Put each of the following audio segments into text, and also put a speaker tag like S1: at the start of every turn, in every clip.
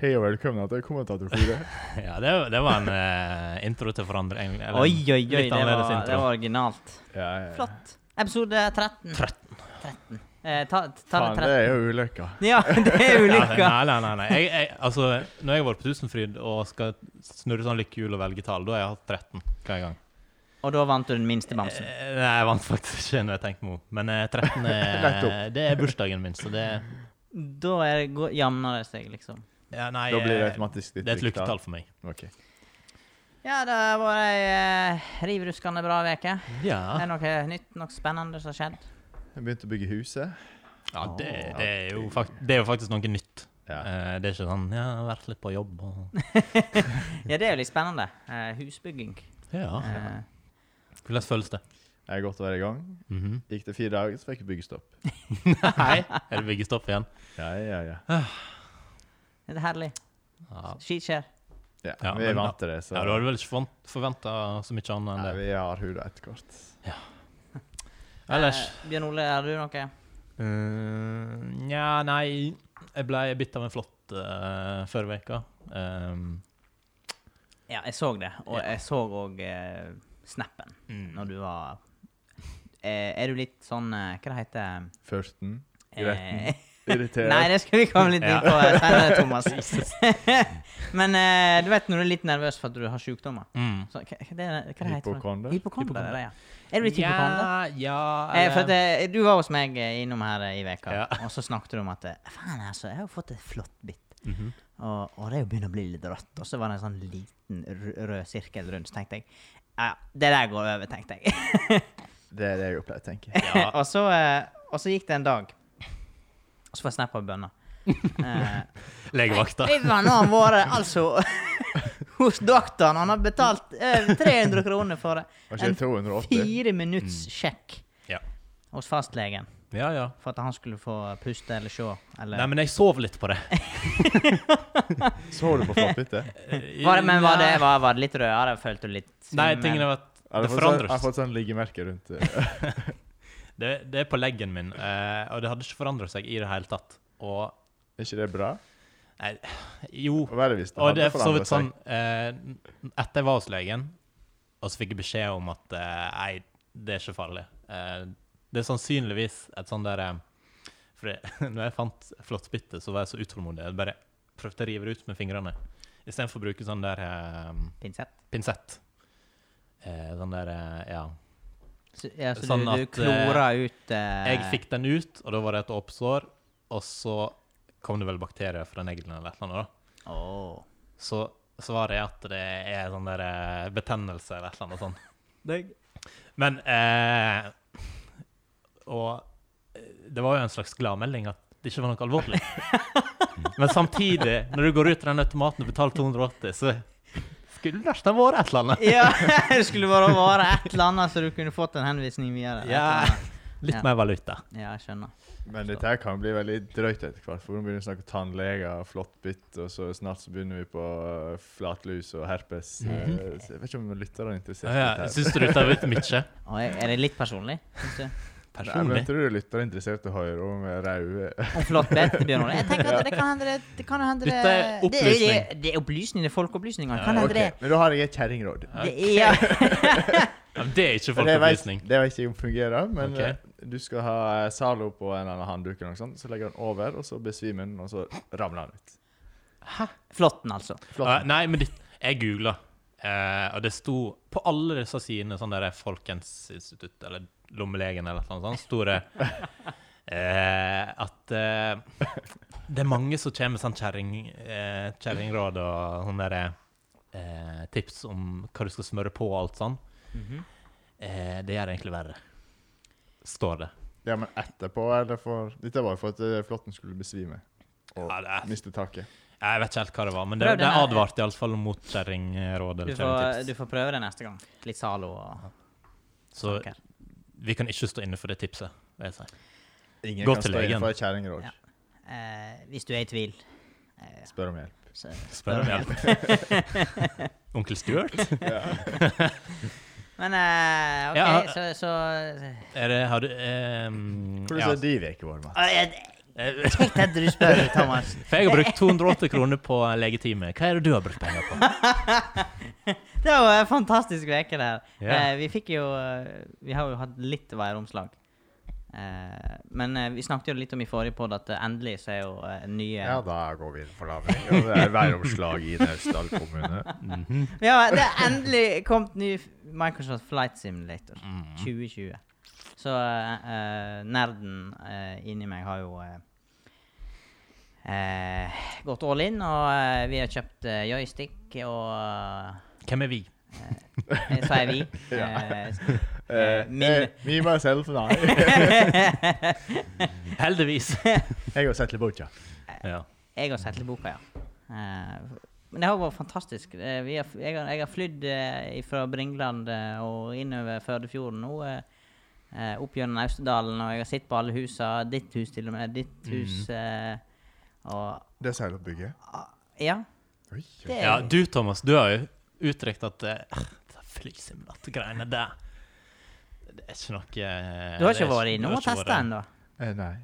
S1: Hei og velkommen til kommentatorkoret.
S2: Ja, det, det var en eh, intro til forandring. eller en
S3: Oi, oi, oi, det
S2: litt annerledes
S3: var, det
S2: intro.
S3: var originalt.
S1: Ja, ja, ja.
S3: Flott. Episode 13. 13. Eh, ta, ta
S1: Faen,
S3: det
S1: det er jo ulykka.
S3: 13. Ja, det er ulykka.
S2: Ja, nei, nei, nei. nei. Jeg, jeg, altså, når jeg har vært på Tusenfryd og skal snurre sånn lykkehjul og velge tall, da har jeg hatt 13 hver gang.
S3: Og da vant du den minste bamsen.
S2: Eh, Nei, jeg vant faktisk ikke når jeg tenkte meg om. Men eh, 13 er,
S1: Nettopp.
S2: det er bursdagen min, så det
S3: Da er det, gå- jamner det seg, liksom.
S2: ja, nei,
S1: Da blir det
S2: eh,
S1: automatisk ditt
S2: det er et
S1: lykke, da.
S2: lykketall for meg.
S1: Ok.
S3: Ja, det har vært ei eh, rivruskende bra uke. Er
S2: Ja,
S3: det noe nytt, noe spennende som har skjedd?
S1: Jeg begynte å bygge huset.
S2: ja det, det, er jo fakt, det er jo faktisk noe nytt.
S1: Ja.
S2: Eh, Det er ikke sånn ja, jeg har vært litt på jobb og
S3: Ja, det er jo litt spennende. Eh, husbygging.
S2: Ja.
S3: Eh,
S2: Hvordan føles det?
S1: Jeg er godt å være i gang.
S2: Mhm.
S1: Gikk det fire dager, så fikk jeg byggestopp.
S2: Nei, er det byggestopp igjen?
S1: Ja, ja, ja.
S3: det er herlig.
S2: Ja.
S3: Skit skjer.
S1: ja,
S2: Ja,
S1: vi
S2: men
S1: vant til det, så
S2: Ja, Du hadde vel ikke forventa så mye annet
S1: Nei,
S2: enn det?
S1: vi har huda etter hvert.
S2: Ellers
S3: Eh, Bjørn Ole, har du noe?
S2: Mm, Nja, nei Jeg ble bitt av en flått eh, før veka. Ehm,
S3: Ja, jeg så det. Og
S2: Ja.
S3: jeg så òg eh, snappen når du var eh, Er du litt sånn eh, Hva det heter
S1: Førsten. Gretten.
S3: Eh,
S1: Irritert.
S3: Nei, det skal vi komme litt inn
S2: Ja.
S3: på eh, senere, Thomas. Men eh, du vet når du er litt nervøs for at du har sykdommer
S2: mm.
S3: så, hva, hva det er- hva det heter det?
S1: Hypokonder.
S3: Hypokonder,
S2: Hypokonder.
S3: det er det, ja. Er du litt hypokonder?
S2: Ja,
S3: Eh, for at,
S2: eller-
S3: eh, du var hos meg eh, innom her eh, i veka,
S2: Ja.
S3: og så snakket du om at eh, Faen, altså, jeg har jo fått et flott bitt.
S2: Mhm.
S3: Og, og det er jo begynner å bli litt rått. Og så var det en sånn liten rød, rød sirkel rundt, så tenkte jeg. Ja, ja, det der går over, tenkte jeg.
S1: Det er det jeg pleier å tenke.
S2: Ja.
S3: og, så, eh, og så gikk det en dag, og så får jeg snap av bønna. Eh,
S2: Legevakta.
S3: Vi var nå vært altså hos doktoren. Han har betalt over 300 kroner for
S1: Var
S3: en
S1: ikke det 280?
S3: fire minutts sjekk
S2: Mm. Ja.
S3: hos fastlegen
S2: Ja, ja.
S3: for at han skulle få puste eller se. Eller.
S2: Nei, men jeg sov litt på det.
S1: Så du på flottbyttet?
S3: var det, men var det, var, var det litt rødere? Følte du litt
S2: Nei, tingen er at
S1: Har
S2: det
S1: du fått sånn-
S2: forandrer
S1: har du
S2: seg.
S1: fått sånn liggemerke rundt eh,
S2: Det, det er på leggen min, eh, og det hadde ikke forandra seg i det hele tatt. Og
S1: Er ikke det bra?
S2: nei, Jo,
S1: Å være visst.
S2: Og Oh. det er for så vidt sånn eh, Etter jeg var hos legen, og så fikk jeg beskjed om at eh, nei, det er ikke farlig. Eh, det er sannsynligvis et sånn der eh, For det, når jeg fant flåttbittet, så var jeg så utålmodig. Jeg bare prøvde å rive det ut med fingrene. Istedenfor å bruke sånn der eh,
S3: Pinsett?
S2: pinsett. Eh, sånn der eh, Ja.
S3: Så, ja, så
S2: Sånn
S3: du, du
S2: at, eh,
S3: klora ut eh,
S2: Jeg fikk den ut, og da var det et åpsår. Og så kom det vel bakterier fra neglen eller et eller annet. da.
S3: Åh.
S2: Så svaret er at det er sånn der eh, betennelse eller et eller annet sånn. Men eh, Og eh, det var jo en slags gladmelding at det ikke var noe alvorlig. Men samtidig, når du går ut av den automaten og betaler 280, så skulle det ha vært et eller annet.
S3: Ja, det skulle bare være et eller annet, så du kunne fått en henvisning videre.
S2: Ja,
S3: Ja.
S2: litt mer valuta.
S3: ja, jeg skjønner.
S1: Men dette her kan bli veldig drøyt etter hvert. For nå begynner vi å snakke tannleger, flåttbitt, og så snart så begynner vi på øh, flatlus og herpes. øh, så Jeg vet ikke om lytterne er interessert i
S2: Mhm. Ja,
S1: dette. her.
S2: Syns du dette er litt mye?
S3: Og er er det litt personlig? Synes du?
S1: Nei, men jeg
S2: Personlig?
S1: tror du lyttere er interessert i å høre om eh, raude
S3: Om flott bedt, Bjørn Ole? Jeg tenker at det kan hende det, det kan hende det,
S2: Dette er
S3: det, er- det, er- det er opplysning, det er folkeopplysninger. Det Kan hende det
S1: Ok, Men da har jeg et kjerringråd.
S3: det er, ja.
S2: Ja, men det er ikke
S1: Og Det vet,
S2: folkeopplysning.
S1: det vet jeg om fungerer, men
S2: Ok.
S1: øh, du skal ha øh, Zalo på en eller annen handduk, eller noe sånt, så legger han over, og så besvimer han, og så ramler han ut.
S3: Flåtten, altså.
S2: Ja,
S1: Flott.
S2: nei, men det, jeg googla, eh, og det sto på alle disse sidene sånn der Folkehelseinstituttet eller Lommelegen eller noe sånt, sto det eh, at eh, det er mange som kommer med sånn kjerring, eh, kjerringråd og sånne der, eh, tips om hva du skal smøre på og alt sånn.
S3: Mhm.
S2: eh, det gjør det egentlig verre, står det.
S1: Ja, men etterpå, eller for Dette var jo for at øh, flåtten skulle besvime og
S2: Ja, det er-
S1: miste taket.
S2: Jeg vet ikke helt hva det var, men det,
S3: Prøv
S2: det
S3: den her.
S2: advarte iallfall mot kjerringråd
S3: Du
S2: eller
S3: får,
S2: kjerringtips.
S3: du får prøve det neste gang. Litt Zalo og
S2: Så
S3: saker.
S2: vi kan ikke stå inne for det tipset. vil jeg si.
S1: Ingen
S2: Gå
S1: kan
S2: til
S1: stå
S2: legen.
S1: innenfor et kjerringråd.
S3: Ja. Eh, hvis du er i tvil. Eh,
S1: Spør om hjelp.
S3: så,
S2: Spør om hjelp. Onkel Stuart?
S3: men eh, OK,
S2: Ja.
S3: så, så
S2: Er det, har du ehm,
S1: Hvordan
S2: ja,
S1: er de veke vår, Mats?
S3: Ah, Jeg,
S2: Eh,
S3: Kjekt at du spør, Thomas.
S2: For jeg har brukt 280 kroner på legetime. Hva er det du har brukt penger på?
S3: Det var en fantastisk uke, det her.
S2: Ja.
S3: Eh, vi fikk jo eh, Vi har jo hatt litt væromslag. Eh, men eh, vi snakket jo litt om i forrige podd at eh, endelig så er jo eh, nye
S1: Ja, da går vi inn for lavere. Ja, Det er væromslag i Naustdal kommune.
S3: Ja, det er endelig kommet ny f- Microsoft Flight Simulator
S1: Mm.
S3: 2020. Så eh, nerden eh, inni meg har jo eh, eh, gått all in, og eh, vi har kjøpt eh, joystick og
S2: Hvem er vi?
S3: eh, Sier vi. Eh,
S1: Eh,
S3: eh, min,
S1: eh, me, myself, nei.
S2: Heldigvis.
S1: Jeg har sett litt bort, ja.
S2: Ja.
S3: Jeg har sett boka, ja. Eh, men det har vært fantastisk. Eh, vi har, jeg, har, jeg har flydd eh, fra Bringland eh, og innover Førdefjorden nå. eh, eh, opp gjennom Austerdalen, og jeg har sett på alle husa. Ditt hus, til og med.
S2: Mhm.
S3: Ditt hus. eh, og
S1: Det er seiloppbygget.
S3: ja.
S1: Oi.
S3: Det
S2: ja, du Thomas, du har jo uttrykt at eh, det er flysimulator-greiene der Det er ikke noe eh,
S3: du har
S2: det
S3: ikke
S2: er
S3: vært inne
S2: du har
S3: og
S2: ikke
S3: testa
S2: vært-
S3: ennå?
S1: Eh, nei.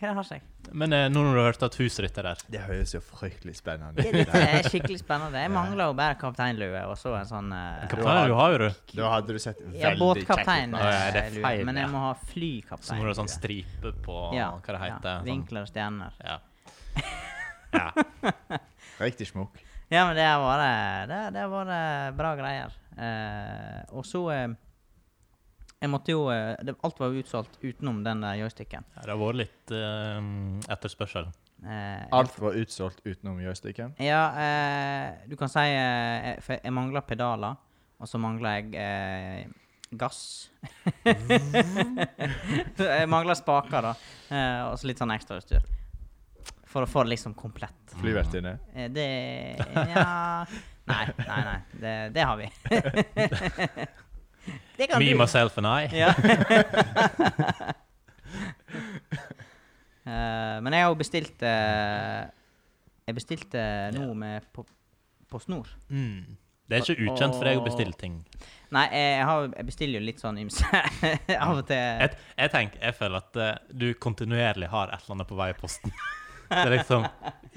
S3: Hva har seg?
S2: Men eh, nå når du har hørt at huset ditt er der
S1: Det høres jo fryktelig spennende
S3: Det er
S1: ut.
S3: litt, eh, skikkelig spennende. Jeg mangler jo bare kapteinlue og så en sånn eh,
S2: Kaptein, du har jo det.
S1: Da hadde du sett veldig
S3: ja, båtkaptein.
S2: ut. Ja, ja, det er
S3: eh, lue,
S2: feil,
S3: Men
S2: ja.
S3: jeg må ha
S2: Så må du ha sånn
S3: flykaptein.
S2: stripe på hva det heter. sånn.
S3: vinkler og stjerner.
S2: Ja. ja.
S1: Riktig smokk.
S3: Ja, men det har vært, det, det har vært bra greier. Eh, og så eh, Jeg måtte jo eh, det, Alt var jo utsolgt utenom den der joysticken.
S2: Det har vært litt eh, etterspørsel.
S3: Eh,
S1: Alt var utsolgt utenom joysticken.
S3: Ja, eh, du kan si eh, jeg- For jeg mangler pedaler, og så mangler jeg eh, gass. Så jeg mangler spaker, da. Eh, og så litt sånn ekstrautstyr. For å få det liksom komplett.
S1: Flyvertinne.
S3: Eh, Det Ja Nei, nei, nei. Det, det har vi. det kan
S2: Me,
S3: du.
S2: myself and I.
S3: Ja. Eh, men jeg har jo bestilt eh, Jeg bestilte nå med på, på snor.
S2: Mm. Det er ikke ukjent for deg å bestille ting.
S3: Nei, eh, jeg, jeg, har, jeg bestiller jo litt sånn ymse av og til.
S2: Jeg, jeg tenker, jeg føler at eh, du kontinuerlig har et eller annet på vei i posten. Det er liksom,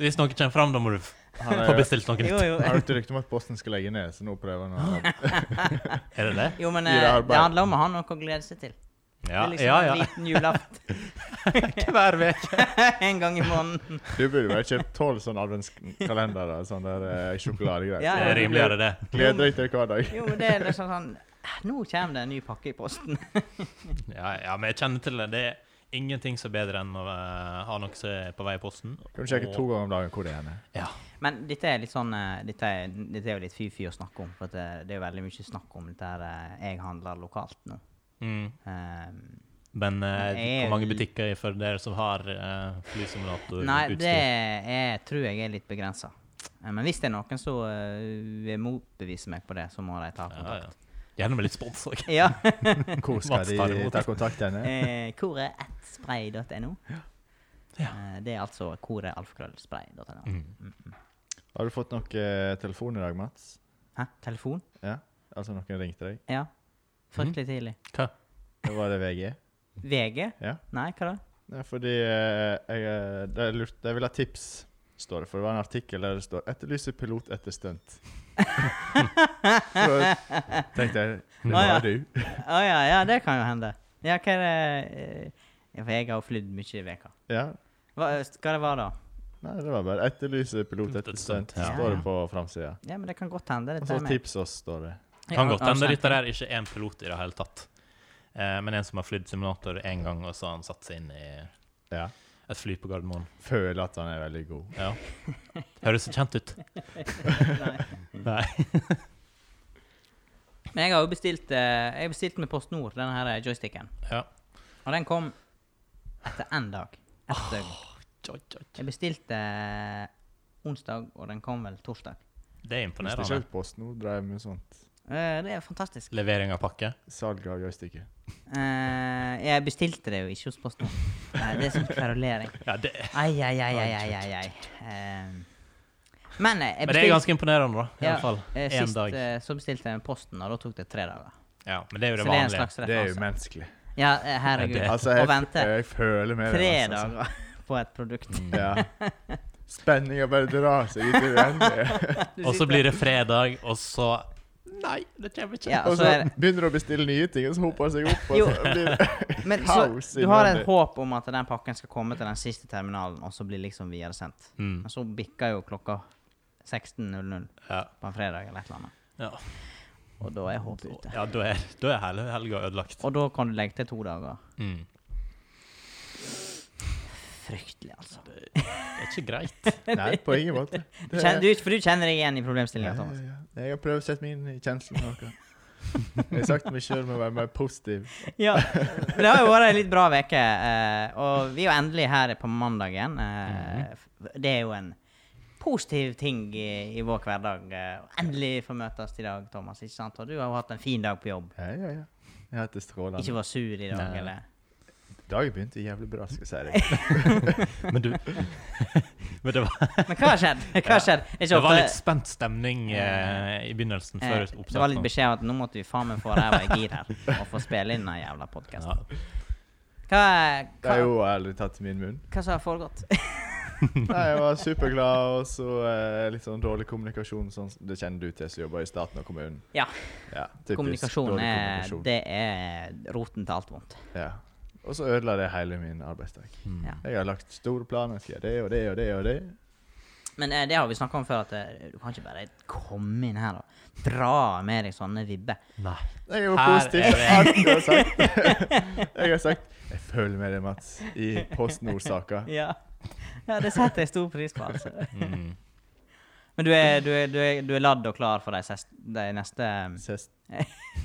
S2: Hvis noe kommer fram, da må du f-
S1: Han er-
S2: få bestilt noe
S3: Jo,
S2: nytt.
S3: jo.
S1: Har hørt rykte om at Boston skal legge ned, så nå prøver han å
S2: Er det det?
S3: jo men
S1: Gi
S3: eh,
S1: deg arbeid.
S3: det handler om å ha noe å glede seg til.
S2: Ja,
S3: det er
S2: ja. ja.
S3: liksom en liten julaften
S2: Hver uke.
S3: en gang i måneden.
S1: Du burde bare kjøpt tolv sånne adventskalendere, sånn der eh, sjokoladegreier.
S3: Ja,
S2: Det er rimeligere, det.
S1: Gleder deg til hver dag.
S3: Jo, men det er liksom sånn eh, Nå kommer det en ny pakke i posten.
S2: Ja, ja, men jeg kjenner til det. Det er ingenting som er bedre enn å eh, ha noe som er på vei i posten.
S1: Kan du sjekke to ganger om dagen hvor det er?
S2: Ja.
S3: Men dette er litt sånn eh, Dette er, dette er jo litt fy-fy å snakke om. For at det, det er jo veldig mye snakk om dette her eh, jeg handler lokalt nå.
S2: Mm.
S3: Ehm,
S2: Men eh,
S3: Jeg-
S2: hvor mange butikker for dere som har uh, flysimulator?
S3: nei, det er, tror jeg er litt begrensa. Men hvis det er noen som eh, vil motbevise meg på det, så må de ta
S2: ja,
S3: kontakt.
S2: ja. Gjerne med litt spons òg.
S3: Ja.
S1: Hvor skal
S2: Mats tar
S1: de
S2: imot.
S1: ta kontakt henne?
S3: Eh, Koret1spray.no.
S2: Ja. Mm.
S3: Eh, Det er altså koret.alfkrøllspray.no.
S1: Har du fått noe eh, telefon i dag, Mats?
S3: Hæ? Telefon?
S1: Ja? Altså noen ringte deg?
S3: Ja. Fryktelig tidlig.
S2: Hva?
S1: Det var det VG?
S3: VG?
S1: Ja.
S3: Nei, hva da?
S1: Nei, fordi eh, jeg, eh, det er lurt, jeg vil ha tips, står det. For det var en artikkel der det står 'Etterlyser pilot etter stunt'. Så tenkte jeg Det
S3: Å, ja.
S1: var du.
S3: Å ja, ja, det kan jo hende. Ja, hva er det eh, ja, For jeg har jo flydd mye i veka.
S1: Ja.
S3: Hva skal det være da?
S1: Nei, det var bare 'Etterlyser pilot etter stunt',
S2: Ja.
S1: står det på framsida.
S3: Ja, men det kan godt hende.
S1: Og
S3: Dette
S1: så
S3: er meg.
S1: 'Tips oss', står det.
S3: Ja,
S2: Altså,
S3: altså,
S2: Kan godt
S3: har du
S2: hende
S3: sendt
S2: dette her ikke er en pilot i det hele tatt. Eh, men en som har flydd simulator én gang, og så har han satt seg inn i
S1: Ja.
S2: et fly på Gardermoen.
S1: Føler at han er veldig god.
S2: Ja. Høres så kjent ut. Nei.
S3: Men jeg har jo bestilt eh, Jeg bestilte med Post Nord denne her eh, joysticken.
S2: Ja.
S3: Og den kom etter én dag. Ett døgn.
S2: Oi, oi.
S3: Jeg bestilte eh, onsdag, og den kom vel torsdag.
S2: Det er
S1: Hvis det
S2: imponerende.
S1: ikke er Posten Nord drev med sånt
S3: Eh, det er fantastisk.
S2: Levering av pakke.
S1: salg av joysticket.
S3: Eh, jeg bestilte det jo ikke hos Post Nord. Nei, det er sånn kverulering.
S2: Ja, det,
S3: Ai, ai, ai, ai, ai, ai, ai. Eh, men eh, jeg
S2: men det er ganske imponerende, da. I
S3: Ja,
S2: alle fall.
S3: Eh,
S2: Én
S3: Sist
S2: dag.
S3: eh, så bestilte jeg med posten, og da tok det tre dager.
S2: Ja, men det er jo det
S3: Så det er en
S2: vanlige.
S3: slags
S1: Det er jo
S3: referanse.
S1: umenneskelig.
S3: Ja, eh, herregud.
S2: Ja,
S1: Altså,
S3: Å
S1: jeg,
S3: vente
S1: jeg føler med
S3: tre
S1: altså. sånn,
S3: dager på et
S2: Mm.
S3: produkt.
S1: Ja. Spenninga bare drar seg ut i det uendelige.
S2: Og så blir det fredag, og så Nei, det kommer ikke.
S3: Ja,
S1: Og så
S3: så er det-
S1: begynner du å bestille nye ting, og så hoper det seg opp.
S3: Jo.
S1: Og så blir det
S3: Men
S1: kaos
S3: så, du har et
S1: innvendig.
S3: håp om at den pakken skal komme til den siste terminalen, og så blir liksom videresendt.
S2: Mm.
S3: Men så bikker jo klokka 16.00
S2: Ja.
S3: på en fredag eller et eller annet.
S2: Ja.
S3: Og da er håpet ute.
S2: Ja, da er, da er hele helga ødelagt.
S3: Og da kan du legge til to dager.
S2: Mm.
S3: Fryktelig, altså.
S2: Det er ikke greit.
S1: Nei, på ingen måte.
S3: Du kjenner, du, for du kjenner deg igjen i problemstillinga,
S1: Ja,
S3: Thomas.
S1: ja, ja. Jeg har prøvd å sette meg inn i kjenslene noe. Jeg har sagt til meg sjøl å være mer positiv.
S3: Ja. Men det har jo vært ei litt bra uke, og vi er jo endelig her på mandagen. eh,
S2: Mhm.
S3: f- Det er jo en positiv ting i, i vår hverdag. eh, å Endelig få møtes i dag, Thomas. ikke sant? Og du har jo hatt en fin dag på jobb.
S1: Ja, ja, ja. Jeg har hatt det
S3: Ikke
S1: strålende.
S3: var sur i dag,
S2: Nei.
S3: eller?
S1: Dagen begynte jævlig bra, skal jeg si deg.
S2: Men du Men det var,
S3: Men hva har skjedd? Hva har skjedd? Ikke
S2: det var
S3: ofte-
S2: litt spent stemning eh, i begynnelsen
S3: eh,
S2: før
S3: det var litt
S2: oppstarten.
S3: beskjed om at nå måtte vi faen meg få ræva i gir her og få spille inn den jævla
S2: Ja.
S3: podkasten.
S1: Det
S3: Hva,
S1: er
S3: hva,
S1: jo ærlig tatt til min munn.
S3: hva som har foregått?
S1: Nei, jeg var superglad, og så eh, litt sånn dårlig kommunikasjon. Sånn, som- det kjenner du til som jobber i staten og kommunen.
S3: Ja.
S1: ja typisk
S3: Kommunikasjon
S1: dårlig
S3: er,
S1: kommunikasjon.
S3: det er roten til alt vondt.
S1: Ja. Og så ødela det hele min arbeidsdag.
S2: Mm.
S3: Ja.
S1: Jeg har lagt store planer. Jeg skal gjøre det og det og det og det.
S3: Men eh, det har vi snakka om før, at eh, du kan ikke bare komme inn her og dra med deg sånne vibber.
S2: Nei.
S1: Jeg er jo
S2: Her
S1: positiv
S2: er
S1: til alt du har sagt. Jeg har sagt Jeg føler med deg, Mats, i Post Nord-saka.
S3: Ja. ja, det setter jeg stor pris på, altså.
S2: Mm.
S3: Men du er, du er, du er, du er ladd og klar for de, ses, de neste,
S1: Ses-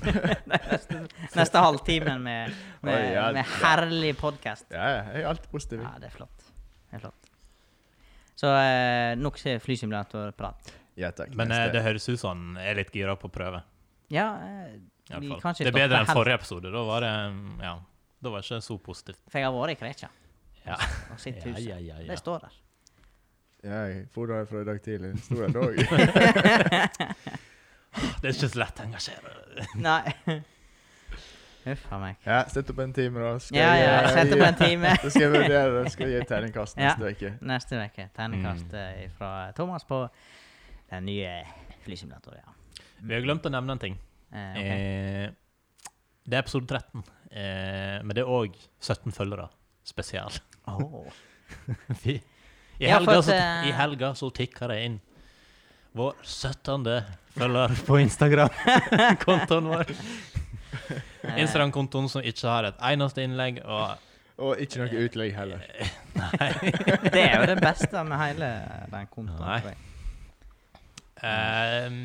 S3: neste, neste halvtimen med, med,
S1: Oi, ja,
S3: med herlig podkast?
S1: Ja, ja, jeg er alltid positiv.
S3: Ja, det er flott. Det er flott. Så eh, nok flysimulatorprat.
S1: Ja takk.
S2: Men eh,
S1: neste.
S2: det høres ut som han er litt gira på å prøve.
S3: Ja, eh,
S2: i
S3: vi
S2: hvert fall.
S3: kan
S2: Det er
S3: ikke
S2: bedre
S3: stoppe
S2: enn
S3: helt.
S2: forrige episode. Da var det mm, ja, da var det ikke så positivt.
S3: for jeg har vært i Krekja
S2: Ja.
S3: og sitt
S2: Ja,
S3: hus.
S2: ja, ja, ja.
S3: Det står der.
S1: Ja, jeg for der fra i dag tidlig. Sto der dog.
S2: Det er ikke så lett å engasjere.
S3: Nei. Huff a meg.
S1: Ja, sett opp en time, da. Skal
S3: Ja, ja,
S1: jeg-
S3: sett opp en time.
S1: Da skal jeg vurdere det. Skal jeg gi terningkast
S3: Ja.
S1: neste uke.
S3: Neste uke tegnekast
S2: Mm.
S3: eh, fra Thomas på den nye flysimulatoren. Ja.
S2: Vi har glemt å nevne en ting.
S3: Eh, ok.
S2: Eh, det er episode 13, eh, men det er òg 17 følgere spesial.
S3: Åh.
S2: Vi, I
S3: Jeg har
S2: helga,
S3: fått,
S2: så,
S3: eh,
S2: I helga så tikker det inn vår 17. følger på Instagram-kontoen vår.
S3: Eh,
S2: Instagram-kontoen som ikke har et eneste innlegg. Og
S1: Og ikke noe utlegg heller.
S3: Eh, det er jo det beste med hele den kontoen.
S2: Nei.
S3: tror jeg.
S2: eh,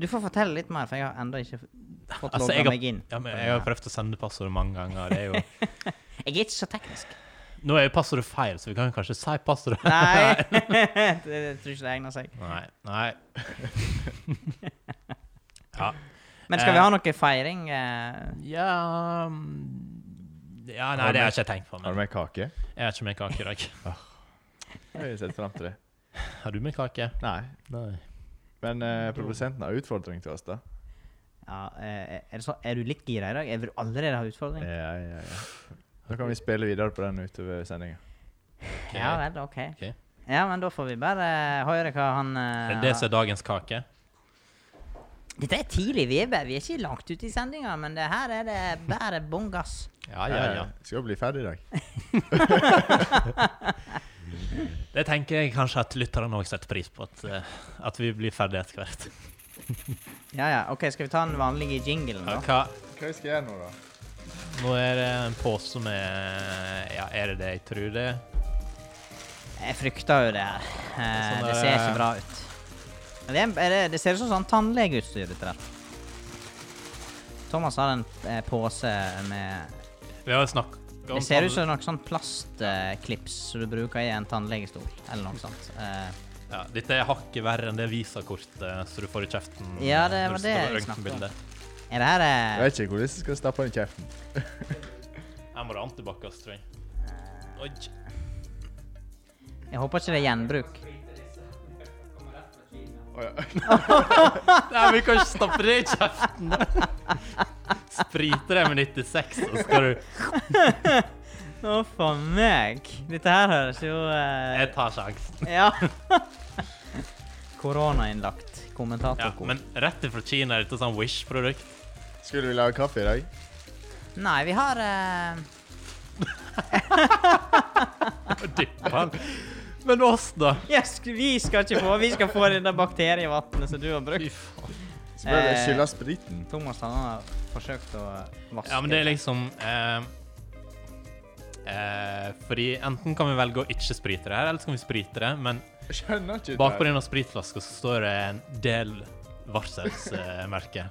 S3: Du får fortelle litt mer, for jeg har ennå ikke fått
S2: Altså,
S3: logga
S2: jeg har-
S3: meg inn.
S2: ja, men jeg har prøvd å sende passordet mange ganger. Det er jo,
S3: Jeg er ikke så teknisk.
S2: nå er jo passordet feil, så vi kan jo kanskje si passordet.
S3: Nei, det jeg tror ikke det egner seg.
S2: Nei. Nei. ja.
S3: Men skal vi ha noe feiring? eh?
S2: Ja mm, Ja, nei, det har jeg ikke tenkt på.
S1: Har du
S2: Men
S1: med kake?
S2: jeg har ikke med kake i dag.
S1: Jeg har sett frem til det.
S2: Har du med kake?
S1: Nei.
S2: Nei.
S1: Men eh, produsenten har utfordring til oss, da.
S3: Ja, eh, er, det så, er du litt gira i dag? Jeg vil allerede ha utfordring.
S1: Ja, ja, ja. Da kan vi spille videre på den utover sendinga.
S3: Ja vel, ok.
S2: Ok.
S3: Ja, men da får vi bare høre hva han
S2: Er
S3: eh,
S2: det det som er dagens kake?
S3: Dette er tidlig veve. Vi er ikke langt ute i sendinga, men det her er det bare bånn gass.
S2: Ja, ja, ja.
S1: Eh, Skal bli ferdig i dag.
S2: Det tenker jeg kanskje at lytterne òg setter pris på, at, eh, at vi blir ferdige etter hvert.
S3: Ja, ja. OK, skal vi ta den vanlige jinglen,
S2: Ja,
S3: da?
S2: hva?
S1: Hva skal jeg gjøre nå, da?
S2: Nå er det en pose med Ja, er det det jeg tror det er?
S3: Jeg frykter jo det her. Eh,
S2: Sånn
S3: Det
S2: der-
S3: ser ikke bra ut. Men Det, er, er det, det ser ut som sånn tannlegeutstyr, dette der. Thomas har en eh, pose med
S2: Vi har jo snakka om
S3: Det ser ut
S2: tannle-
S3: som noe sånn plastklips som du bruker i en tannlegestol, eller noe sånt. Eh,
S2: ja, Dette er hakket verre enn det visakortet som du får i kjeften.
S3: Ja, det
S2: når
S3: var
S2: du
S3: det
S2: står
S3: jeg
S2: ved
S3: snakket om.
S2: røntgenbildet.
S3: er det her
S1: Jeg
S3: eh,
S1: vet ikke hvordan jeg skal stappe den i kjeften.
S2: Her må det antibac-ass, tror jeg.
S3: Eh.
S2: Oi.
S3: Jeg håper ikke det er gjenbruk.
S1: Å, ja.
S2: Nei, vi kan ikke stappe det i kjeften. da. Sprite det med 96, så skal du
S3: Å, faen meg. Dette her høres jo eh,
S2: Jeg tar sjansen.
S3: Ja. Koronainnlagt
S2: Ja,
S3: kommentatorkort.
S2: men rett fra Kina er dette sånn Wish-produkt.
S1: Skulle vi lage kaffe i dag?
S3: Nei, vi har eh,
S2: Dypper. Men oss, da?
S3: ja, sk- Vi skal ikke få Vi skal få det der bakterievannet som du har
S2: Fy
S3: brukt.
S2: faen.
S1: Så bør det
S3: Eh.
S1: skyldes spriten.
S3: Thomas han har forsøkt å vaske
S2: Ja, men det er liksom eh, eh, Fordi enten kan vi velge å ikke sprite det her, eller så kan vi sprite det, men
S1: Jeg skjønner ikke
S2: bakpå
S1: det.
S2: denne spritflaska så står det en del varselsmerker.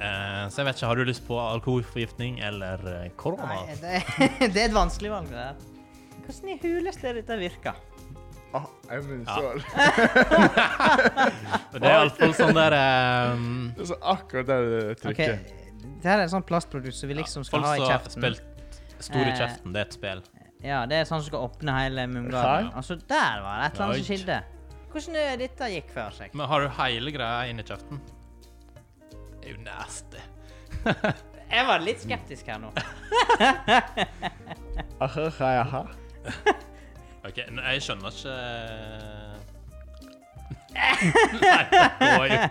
S2: Eh, så jeg vet ikke, har du lyst på alkoholforgiftning eller eh, korona?
S3: Nei, det, det er et vanskelig valg, det der. Hvordan i huleste er dette virka?
S1: Ah, jeg er munnsår.
S2: Og det er iallfall sånn der eh,
S1: Det er så akkurat der det
S3: Ok,
S1: trykker.
S3: Det her er en sånn plastprodukt som vi liksom skal
S2: Folk
S3: ha i
S2: som har
S3: kjeften.
S2: altså, spilt Store
S3: Eh,
S2: kjeften, det er et spill.
S3: Ja, det er sånn som skal åpne hele munngarden.
S1: Hæ?
S3: Altså, der var det et eller annet som
S2: Oi.
S3: skilte. Hvordan er dette gikk for seg?
S2: Men har du hele greia inni kjeften? Det er jo nasty.
S3: Jeg var litt skeptisk her nå.
S1: Aha, aha, aha.
S2: Ok, n- jeg skjønner ikke Nei, det går jo ikke.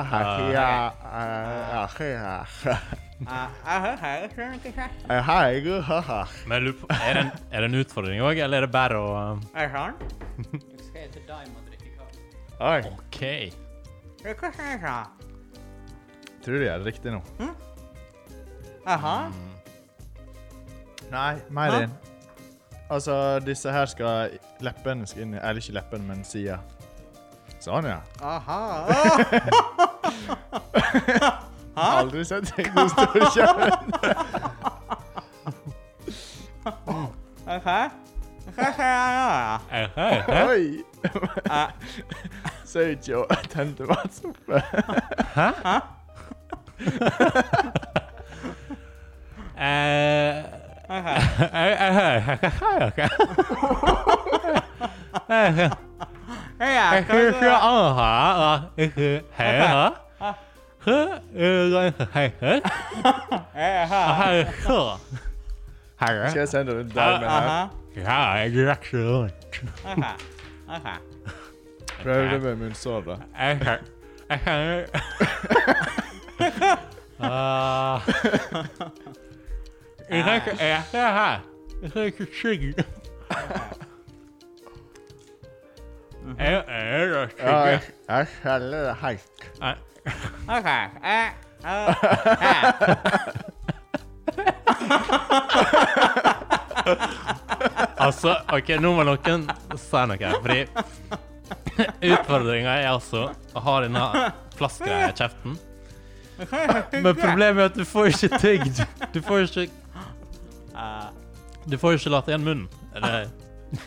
S1: Aha, ja, aha, aha.
S3: Ah, ah, ah, ah, ah, ah.
S1: Aha, jeg, aha.
S2: Men jeg lurer på, er, det en, er det en utfordring òg, eller er det bare å
S3: Er det sånn? Jeg skal ikke deg med å drikke kaffe.
S1: Oi,
S2: OK.
S3: Hva sa jeg sa?
S1: tror du jeg er riktig nå?
S3: Aha.
S1: Nei, mer
S3: Hæ?
S1: inn. Altså, disse her skal Leppene skal inn i Eller ikke leppene, men sida. Sånn, ja.
S3: Aha.
S1: Aldri sett deg så stor kjeft.
S3: Ok. Hva sa jeg nå, da?
S2: Eh, hei, hei.
S1: Oi!
S3: Ah,
S1: Ser ut som jeg tente vannsoppe.
S2: Eh,
S3: ok.
S2: eh, eh, eh, hei, ok. Eh, eh,
S3: Ja,
S2: eh,
S3: kan
S2: eh,
S3: du-
S2: ah, ah, eh, eh, hei, ah. Eh, eh, hei, hei.
S3: Aha.
S2: Hei, eh. Hei, eh.
S1: Skal jeg sende den damen her?
S3: Aha.
S2: Ja, jeg er ikke rundt.
S3: Aha. Aha.
S1: Prøv det med munnsår, da.
S2: Jeg kan... Jeg kan... Ah. Jeg kan ikke ete det her. Jeg kan ikke skygge. Jeg er da
S1: Ja,
S2: skygge.
S1: jeg, jeg skjeller det helt.
S2: Nei,
S3: Ok. Eh, eh, eh.
S2: Altså, ok, nå må noen si noe her, fordi utfordringen er altså å ha denne plastgreia i kjeften. Men problemet er at du får ikke tygd. Du får ikke,
S3: Ah,
S2: du får ikke latt igjen munnen. Eller...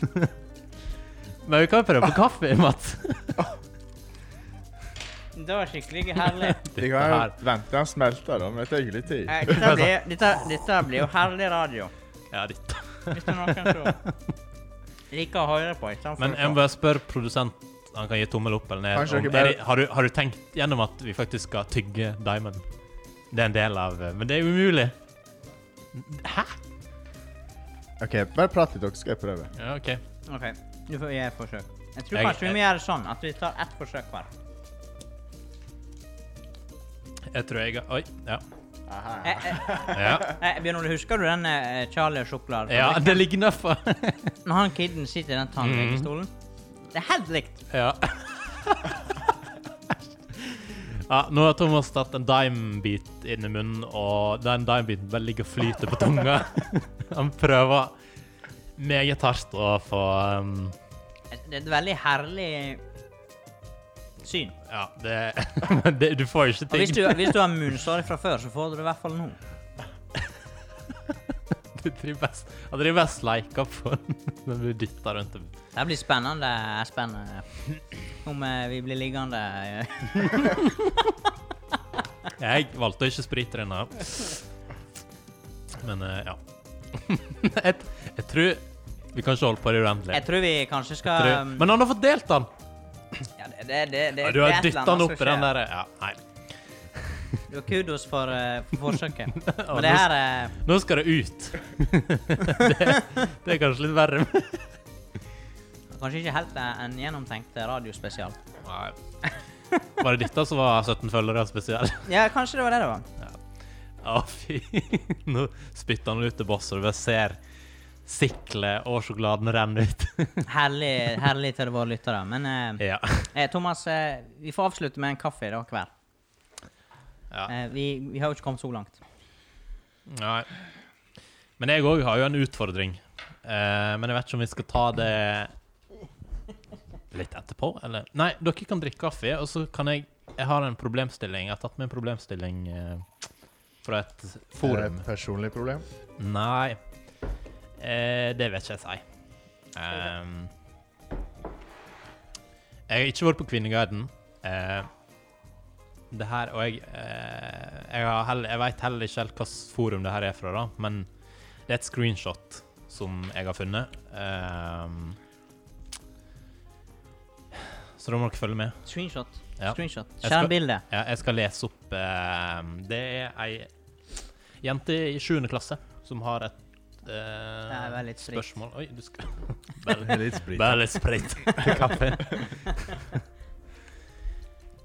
S2: Men vi kan jo prøve på kaffe, Mats.
S3: Det var skikkelig herlig.
S1: Vi kan jo vente den smelter, da, men det tar jo litt tid.
S3: Eh, Dette blir, dette, dette blir jo herlig radio.
S2: Ja, dette.
S3: Hvis det er noen som liker å høre på. i stedet for
S2: Men
S3: å
S2: jeg må
S3: se.
S2: bare spørre produsent han kan gi tommel opp eller ned.
S1: Kanskje
S2: om-
S1: dere bare-
S2: er det- har, du, har du tenkt gjennom at vi faktisk skal tygge Diamond? Det er en del av Men det er jo umulig. Hæ?
S1: OK, bare prat litt, dere, skal jeg prøve.
S2: Ja, OK.
S3: Ok, du får gjøre et forsøk. Jeg tror
S2: Jeg-
S3: kanskje vi må
S2: jeg-
S3: gjøre det sånn at vi tar ett forsøk hver.
S2: Jeg tror jeg Oi. Ja.
S1: Aha.
S3: Eh, eh,
S2: ja.
S3: eh, Bjørn Ole, husker du den eh, Charlie og sjokoladen?
S2: Ja, det ligger nedfor.
S3: Når han kiden sitter i den
S2: Mhm.
S3: tannlegestolen. Det er helt likt.
S2: Ja. ja. Nå har Thomas tatt en dimebit inn i munnen, og den dimebiten bare ligger og flyter på tunga. Han prøver meget hardt å få um,
S3: Det er et veldig herlig syn.
S2: Ja, det, men det Du får jo ikke
S3: Og hvis du,
S2: ting.
S3: hvis du har munnsår fra før, så får du det i hvert fall nå.
S2: Du driver best, han driver best leika på den når du dytter rundt den.
S3: Det blir spennende. spennende. Om eh, vi blir liggende eh,
S2: Jeg valgte å ikke sprite den her. Men eh, ja. jeg, jeg tror Vi kan ikke holde på det uendelig.
S3: Jeg tror vi kanskje
S2: Jeg
S3: skal
S2: tror-
S3: um,
S2: Men han har fått delt den!
S3: ja, det, det, det, det,
S2: Ja, du
S3: det er
S2: har
S3: et eller
S2: dytta
S3: annet
S2: den
S3: som
S2: opp i den
S3: skjer.
S2: der Ja, nei.
S3: Du har kudos for, eh, for forsøket. Men det her er
S2: Nå skal det ut! det, det er kanskje litt verre.
S3: kanskje ikke helt eh, en gjennomtenkt radiospesial.
S2: Nei. Var det dette som var 17 følgere spesiell?
S3: Ja, kanskje det var det det var.
S2: Ja, fy. Nå spytter han ut til boss, og du bare ser siklet og sjokoladen renne ut.
S3: Herlig, herlig til våre lyttere. Men eh,
S2: ja.
S3: eh, Thomas, eh, vi får avslutte med en kaffe i dag hver.
S2: ja.
S3: Eh, vi, vi har jo ikke kommet så langt.
S2: Nei. Men jeg òg har jo en utfordring. Eh, men jeg vet ikke om vi skal ta det litt etterpå, eller? Nei, dere kan drikke kaffe, og så kan jeg Jeg har en problemstilling. Jeg har tatt med en problemstilling eh, fra et
S1: Er det
S2: forum.
S1: et Eh, personlig problem?
S2: Nei. Eh, det vet ikke jeg si. Ehm, jeg har ikke vært på Kvinneguiden. Eh, det her, og jeg, eh, jeg, har heller, jeg vet heller ikke helt hvilket forum det her er fra, da, men det er et screenshot som jeg har funnet. Ehm, så da må dere følge med.
S3: Screenshot.
S2: Ja.
S3: Screenshot.
S2: Jeg skal-
S3: Skjermbilde.
S2: Ja, jeg skal lese opp eh, Det er ei jente i 7. klasse som har et eh,
S3: Nei, vær litt sprit.
S2: spørsmål Oi, du skal Bare
S1: Med litt sprit.
S2: bare litt sprit til kaffen.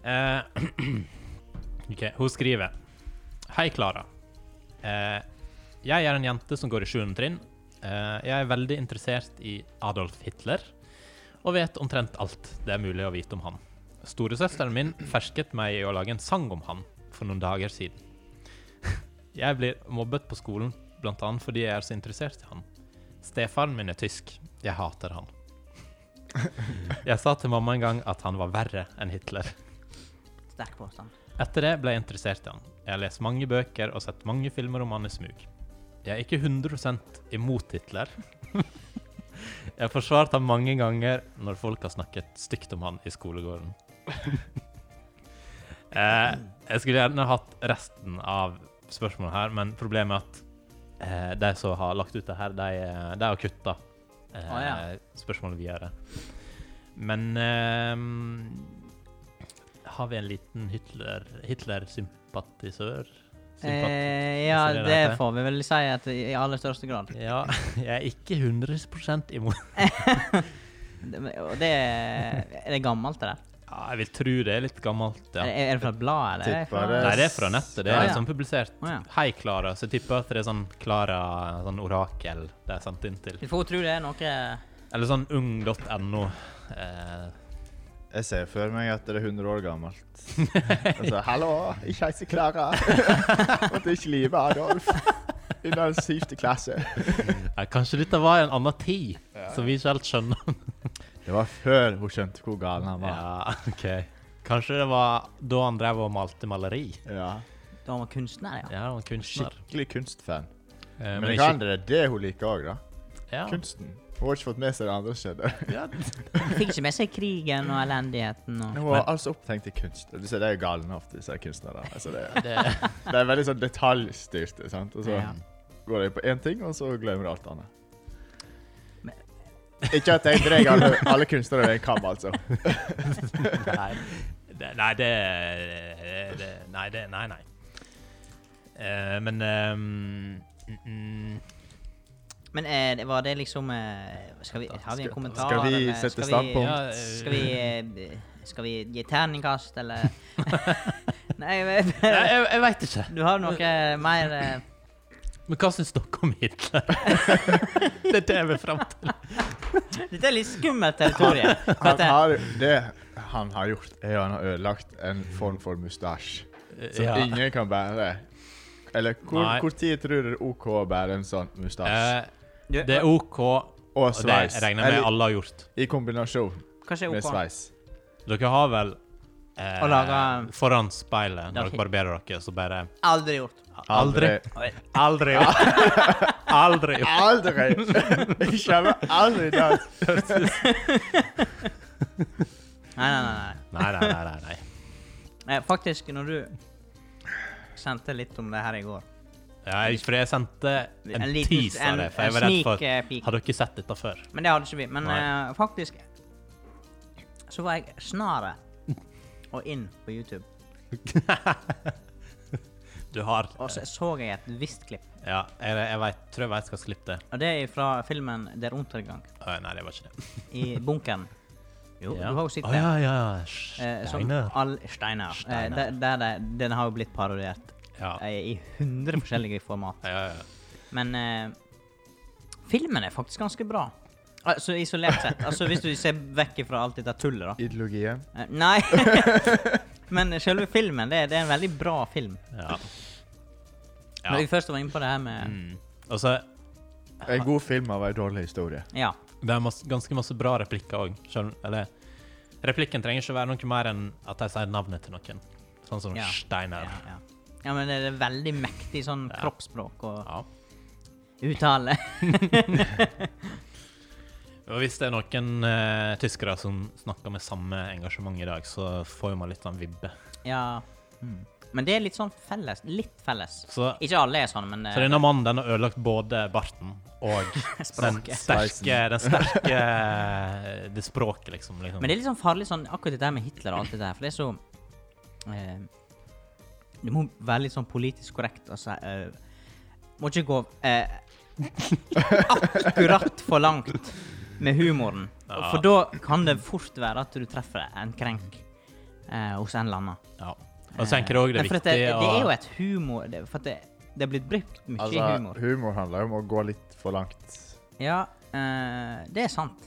S2: Eh, OK, hun skriver Hei, Klara. Eh, jeg er en jente som går i 7. trinn. Eh, jeg er veldig interessert i Adolf Hitler og vet omtrent alt det er mulig å vite om han. Storesøsteren min fersket meg i å lage en sang om han for noen dager siden. Jeg blir mobbet på skolen blant annet fordi jeg er så interessert i han. Stefaren min er tysk. Jeg hater han. Jeg sa til mamma en gang at han var verre enn Hitler.
S3: Sterk påstand.
S2: Etter det ble jeg interessert i han. Jeg har lest mange bøker og sett mange filmer om han i smug. Jeg er ikke 100 imot Hitler. Jeg har forsvart ham mange ganger når folk har snakket stygt om han i skolegården. Eh, jeg skulle gjerne hatt resten av spørsmålet her, men problemet er at eh, de som har lagt ut det her, de, eh, de har kutta eh,
S3: Å,
S2: spørsmålet videre. Men eh, har vi en liten Hitler- Hitler-sympatisør? Sympat-
S3: Eh, ja,
S2: Hvis det er det det heter.
S3: det får vi vel si at i i aller største grad.
S2: Ja, jeg er ikke 100 imot
S3: Det- Og det Er det gammelt, det der?
S2: Ja, jeg vil tro det er litt gammelt, ja.
S3: Er, er det fra et blad, eller? Er det
S1: Tipper
S3: fra-
S1: det.
S2: Nei, det er fra nettet. Det
S3: Ja,
S2: er
S3: Eh, Ah, ja.
S2: liksom publisert.
S3: Å, ja.
S2: Hei, Klara. Så jeg tipper at det er sånn Klara, sånn orakel det er sendt inn til.
S3: Vi får jo tro det er noe eh,
S2: Eller sånn ung.no. Eh,
S1: Jeg ser for meg at det er 100 år gammelt. Altså, hallo, jeg heter Klara. Og det er ikke livet Adolf. I den syvte klasse.
S2: ja, Eh, kanskje dette var en annen tid, som vi ikke helt skjønner.
S1: Det var før hun skjønte hvor gal han var.
S2: Ja, ok. Kanskje det var da han drev og malte maleri.
S1: Ja.
S3: Da var man kunstner, ja.
S2: Ja, han var kunstner.
S1: Skikkelig kunstfan.
S2: Eh,
S1: Men det
S2: ikke-
S1: kan det er det hun liker òg, da.
S2: ja.
S1: Kunsten. Hun har ikke fått med seg det andre som skjedde.
S2: Ja.
S3: Man fikk ikke med seg krigen og elendigheten og
S1: Hun var altså opptenkt i kunst. Du ser, Det er jo galne ofte, disse kunstnerne. Altså, det, er-
S2: Det,
S1: det er veldig sånn detaljstyrte. sant? Og så
S3: Ja.
S1: går de på én ting, og så glemmer de alt annet.
S3: Men-
S1: Ikke at jeg drar alle, alle kunstnere over en kam, altså.
S2: nei, det, nei, det, det Nei, det Nei, nei. Eh, men ehm, mm, mm,
S3: Men eh, det- var det liksom eh, skal vi, Har vi en kommentar?
S1: Skal vi
S3: eller
S1: sette
S3: skal vi-
S1: standpunkt?
S2: Ja, eh.
S3: Skal vi, eh, skal vi gi terningkast, eller Nei, jeg
S2: Nei,
S3: vet-
S2: jeg, jeg veit ikke.
S3: du har noe mer eh,
S2: Men hva syns dere om Hitler? det er det jeg vil fram til.
S3: Dette er litt skummelt territorium. For at
S1: Han
S3: det-
S1: har, det han har gjort, er jo han har ødelagt en form for mustasj som
S2: Eh, Ja.
S1: ingen kan bære. Eller hvor,
S2: Nei.
S1: hvor tid tror du det er OK å bære en sånn mustasj?
S2: Eh, det er OK, og
S1: og
S2: det
S1: sveis.
S2: regner jeg med
S1: Eller
S2: alle har gjort.
S1: I kombinasjon
S3: Kanskje
S1: med
S3: OK.
S1: sveis.
S2: Dere har vel eh,
S3: Og laget-
S2: foran speilet når
S3: Ok.
S2: dere barberer dere, så bare
S3: Aldri gjort.
S2: Aldri. Aldri.
S1: Aldri!
S2: Aldri.
S1: Jeg kommer aldri til at
S3: Nei, nei, nei. nei.
S2: Nei, nei, nei. nei, nei.
S3: Eh, faktisk, når du sendte litt om det her i går
S2: Ja, jeg- for jeg sendte en,
S3: liten-
S2: tease
S3: en-
S2: av det, for jeg
S3: en
S2: var redd for
S3: sneak, eh, peek.
S2: Har dere sett dette før?
S3: Men det hadde ikke vi. Men
S2: Nei.
S3: eh, faktisk så var jeg snare og inn på YouTube.
S2: Du har
S3: Og så så jeg et visst klipp.
S2: Ja, jeg, jeg vet, tror jeg vet hva slipp det er.
S3: Og det er fra filmen 'Der Untergang',
S2: Å, Nei, det var ikke det.
S3: i bunkeren. Jo,
S2: ja.
S3: du har jo sett
S2: Å,
S3: den.
S2: ja, ja. ja.
S3: Eh, som
S2: Steiner.
S3: all Steiner. Eh,
S2: Steiner.
S3: der, der, det- den har jo blitt parodiert
S2: Ja.
S3: eh, i 100 forskjellige format.
S2: Ja, ja, ja.
S3: Men eh, filmen er faktisk ganske bra. Altså isolert sett. Altså Hvis du ser vekk fra alt dette tullet, da.
S1: Ideologien.
S3: Eh, nei. Men selve filmen, det, det er en veldig bra film.
S2: ja.
S3: Når
S2: ja.
S3: vi først var inne på det her med
S2: Mm. Og så
S1: En god film av ei dårlig historie.
S3: Ja.
S2: Det er masse, ganske masse bra replikker òg. Eller Replikken trenger ikke være noe mer enn at de sier navnet til noen. Sånn som
S3: Ja.
S2: Steiner.
S3: Ja, ja. ja, men det er veldig mektig sånn
S2: Ja.
S3: kroppsspråk og
S2: Ja.
S3: uttale.
S2: Og hvis det er noen eh, tyskere som snakker med samme engasjement i dag, så får man litt sånn vibbe.
S3: Ja.
S2: Hmm.
S3: Men det er litt sånn felles. Litt felles.
S2: Så,
S3: Ikke alle er sånn, men
S2: så denne mannen den har ødelagt både barten og den
S3: Språket.
S2: sterke, den sterke Det språket, liksom. liksom.
S3: Men det er litt sånn farlig sånn, akkurat dette her med Hitler og alt dette her, for det er så eh, Det må være litt sånn politisk korrekt og si eh, Må ikke gå eh, akkurat for langt med humoren.
S2: Ja.
S3: For da kan det fort være at du treffer en krenk eh, hos en eller annen.
S2: ja. Og så tenker jeg òg det er
S3: Nei, Eh, for
S2: viktig
S3: at det, det er jo
S2: å
S3: et humor det, For at det, det er blitt brukt mye
S1: Altså,
S3: humor.
S1: humor handler jo om å gå litt for langt.
S3: Ja, eh, det er sant.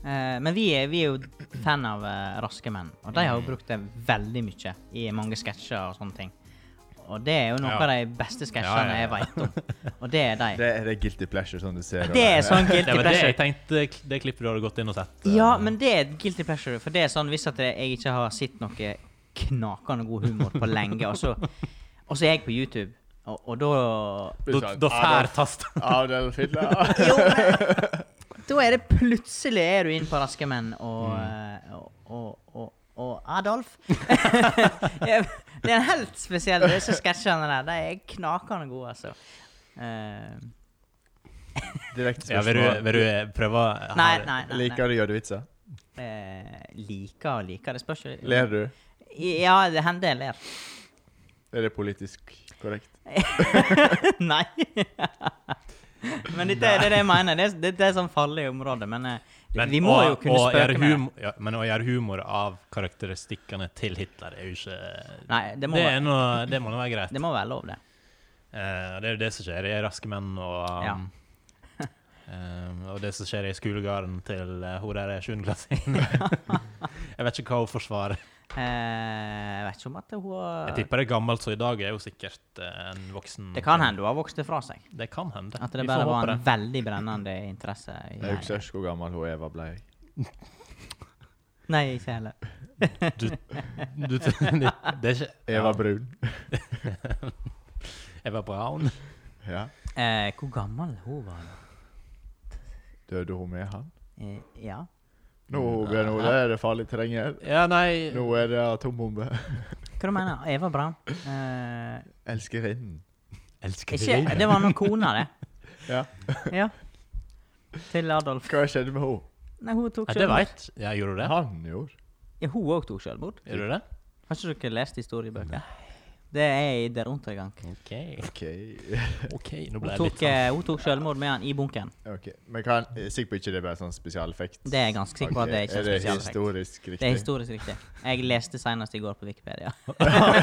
S3: Eh, men vi er, vi er jo fan av eh, Raske menn, og de har jo brukt det veldig mye i mange sketsjer og sånne ting. Og det er jo noen
S2: Ja.
S3: av de beste
S2: Ja, ja, ja.
S3: sketsjene jeg veit om. Og det er de.
S1: Det er det er guilty pleasure, som du ser.
S3: Det er sånn
S2: Det
S3: guilty
S2: var det jeg
S3: pleasure.
S2: tenkte, det klippet du hadde gått inn og sett. eh,
S3: Ja, men det er et guilty pleasure. For det er sånn hvis at jeg ikke har sett noe knakende god humor på lenge, og så, og så er jeg på YouTube, og, og da
S2: Da da fær tast.
S1: Adolf Hitler.
S3: Jo, men da er det plutselig er du inn på Raske menn og,
S2: Mm.
S3: eh, og, og, og, og Adolf. det er en helt spesiell Disse sketsjene der de er knakende gode, altså. Eh,
S1: Direkte
S2: Ja, vil du,
S1: spørsmål.
S2: vil du eh, prøve her?
S3: nei, nei, nei. nei.
S1: Liker du jødevitser?
S3: Eh, liker og liker, det spørs jo
S1: Ler du?
S3: Ja, det hender jeg ler.
S1: Er det politisk korrekt?
S3: nei. men dette, er- det er det jeg mener. Det, er- det, det er sånn farlig område. Men, eh,
S2: Men
S3: vi må
S2: å-
S3: jo kunne
S2: å gjøre
S3: spøke med det.
S2: humor- ja, Men å gjøre humor av karakteristikkene til Hitler er jo ikke
S3: Nei, det må,
S2: Det,
S3: være-
S2: er noe, det må nå være greit.
S3: det må være lov, det.
S2: Eh, og det er jo det som skjer i Raske menn og um, eh, Og det som skjer i skolegarden til uh, hun der er sjuendeklassingen. jeg vet ikke hva hun forsvarer.
S3: Eh, jeg vet ikke om at hun
S2: Jeg
S3: har
S2: tipper det er gammelt, så i dag er hun sikkert eh, en voksen
S3: Det kan hende hun har vokst det fra seg.
S2: Det kan hende.
S3: At det
S2: Vi
S3: bare
S2: får
S3: var
S2: håpe
S3: en veldig brennende interesse. i-
S1: Jeg husker ikke hvor gammel hun Eva ble.
S3: Nei, ikke heller.
S2: det. Du, det er ikke
S1: Eva Brun.
S2: Eva Braun.
S1: Ja.
S3: Eh, hvor gammel hun var da?
S1: Døde hun med han?
S3: Eh, ja.
S1: Nå
S3: Mm,
S1: Bjørn Ole, er det farlig terreng her.
S2: Ja, nei
S1: Nå er det atombombe.
S3: Hva du mener Eva Braun? Eh,
S1: Elskerinnen.
S2: Elsker
S3: ikke Det var noen kona,
S1: Ja.
S3: det. Ja. Til Adolf.
S1: Hva skjedde med henne?
S3: Nei, hun tok
S2: Ja, det
S3: selvmord.
S2: veit jeg. Gjorde du det?
S1: Han gjorde
S3: Ja, hun òg tok selvmord.
S2: Gjorde du det?
S3: Har ikke dere lest historiebøker? Det er i Der Untergang.
S2: OK.
S1: OK.
S2: ok, Nå ble
S3: Hun
S2: jeg litt
S3: tok,
S2: sånn
S3: eh, hun tok selvmord med han i bunkeren.
S1: ok. Men kan, jeg er sikker på ikke det er bare sånn spesialeffekt?
S3: Det er jeg ganske sikker på at det er ikke
S1: Ok,
S3: en
S1: er det
S3: spesialeffekt.
S1: historisk
S3: Det er
S1: riktig?
S3: historisk riktig. Jeg leste senest i går på Wikipedia.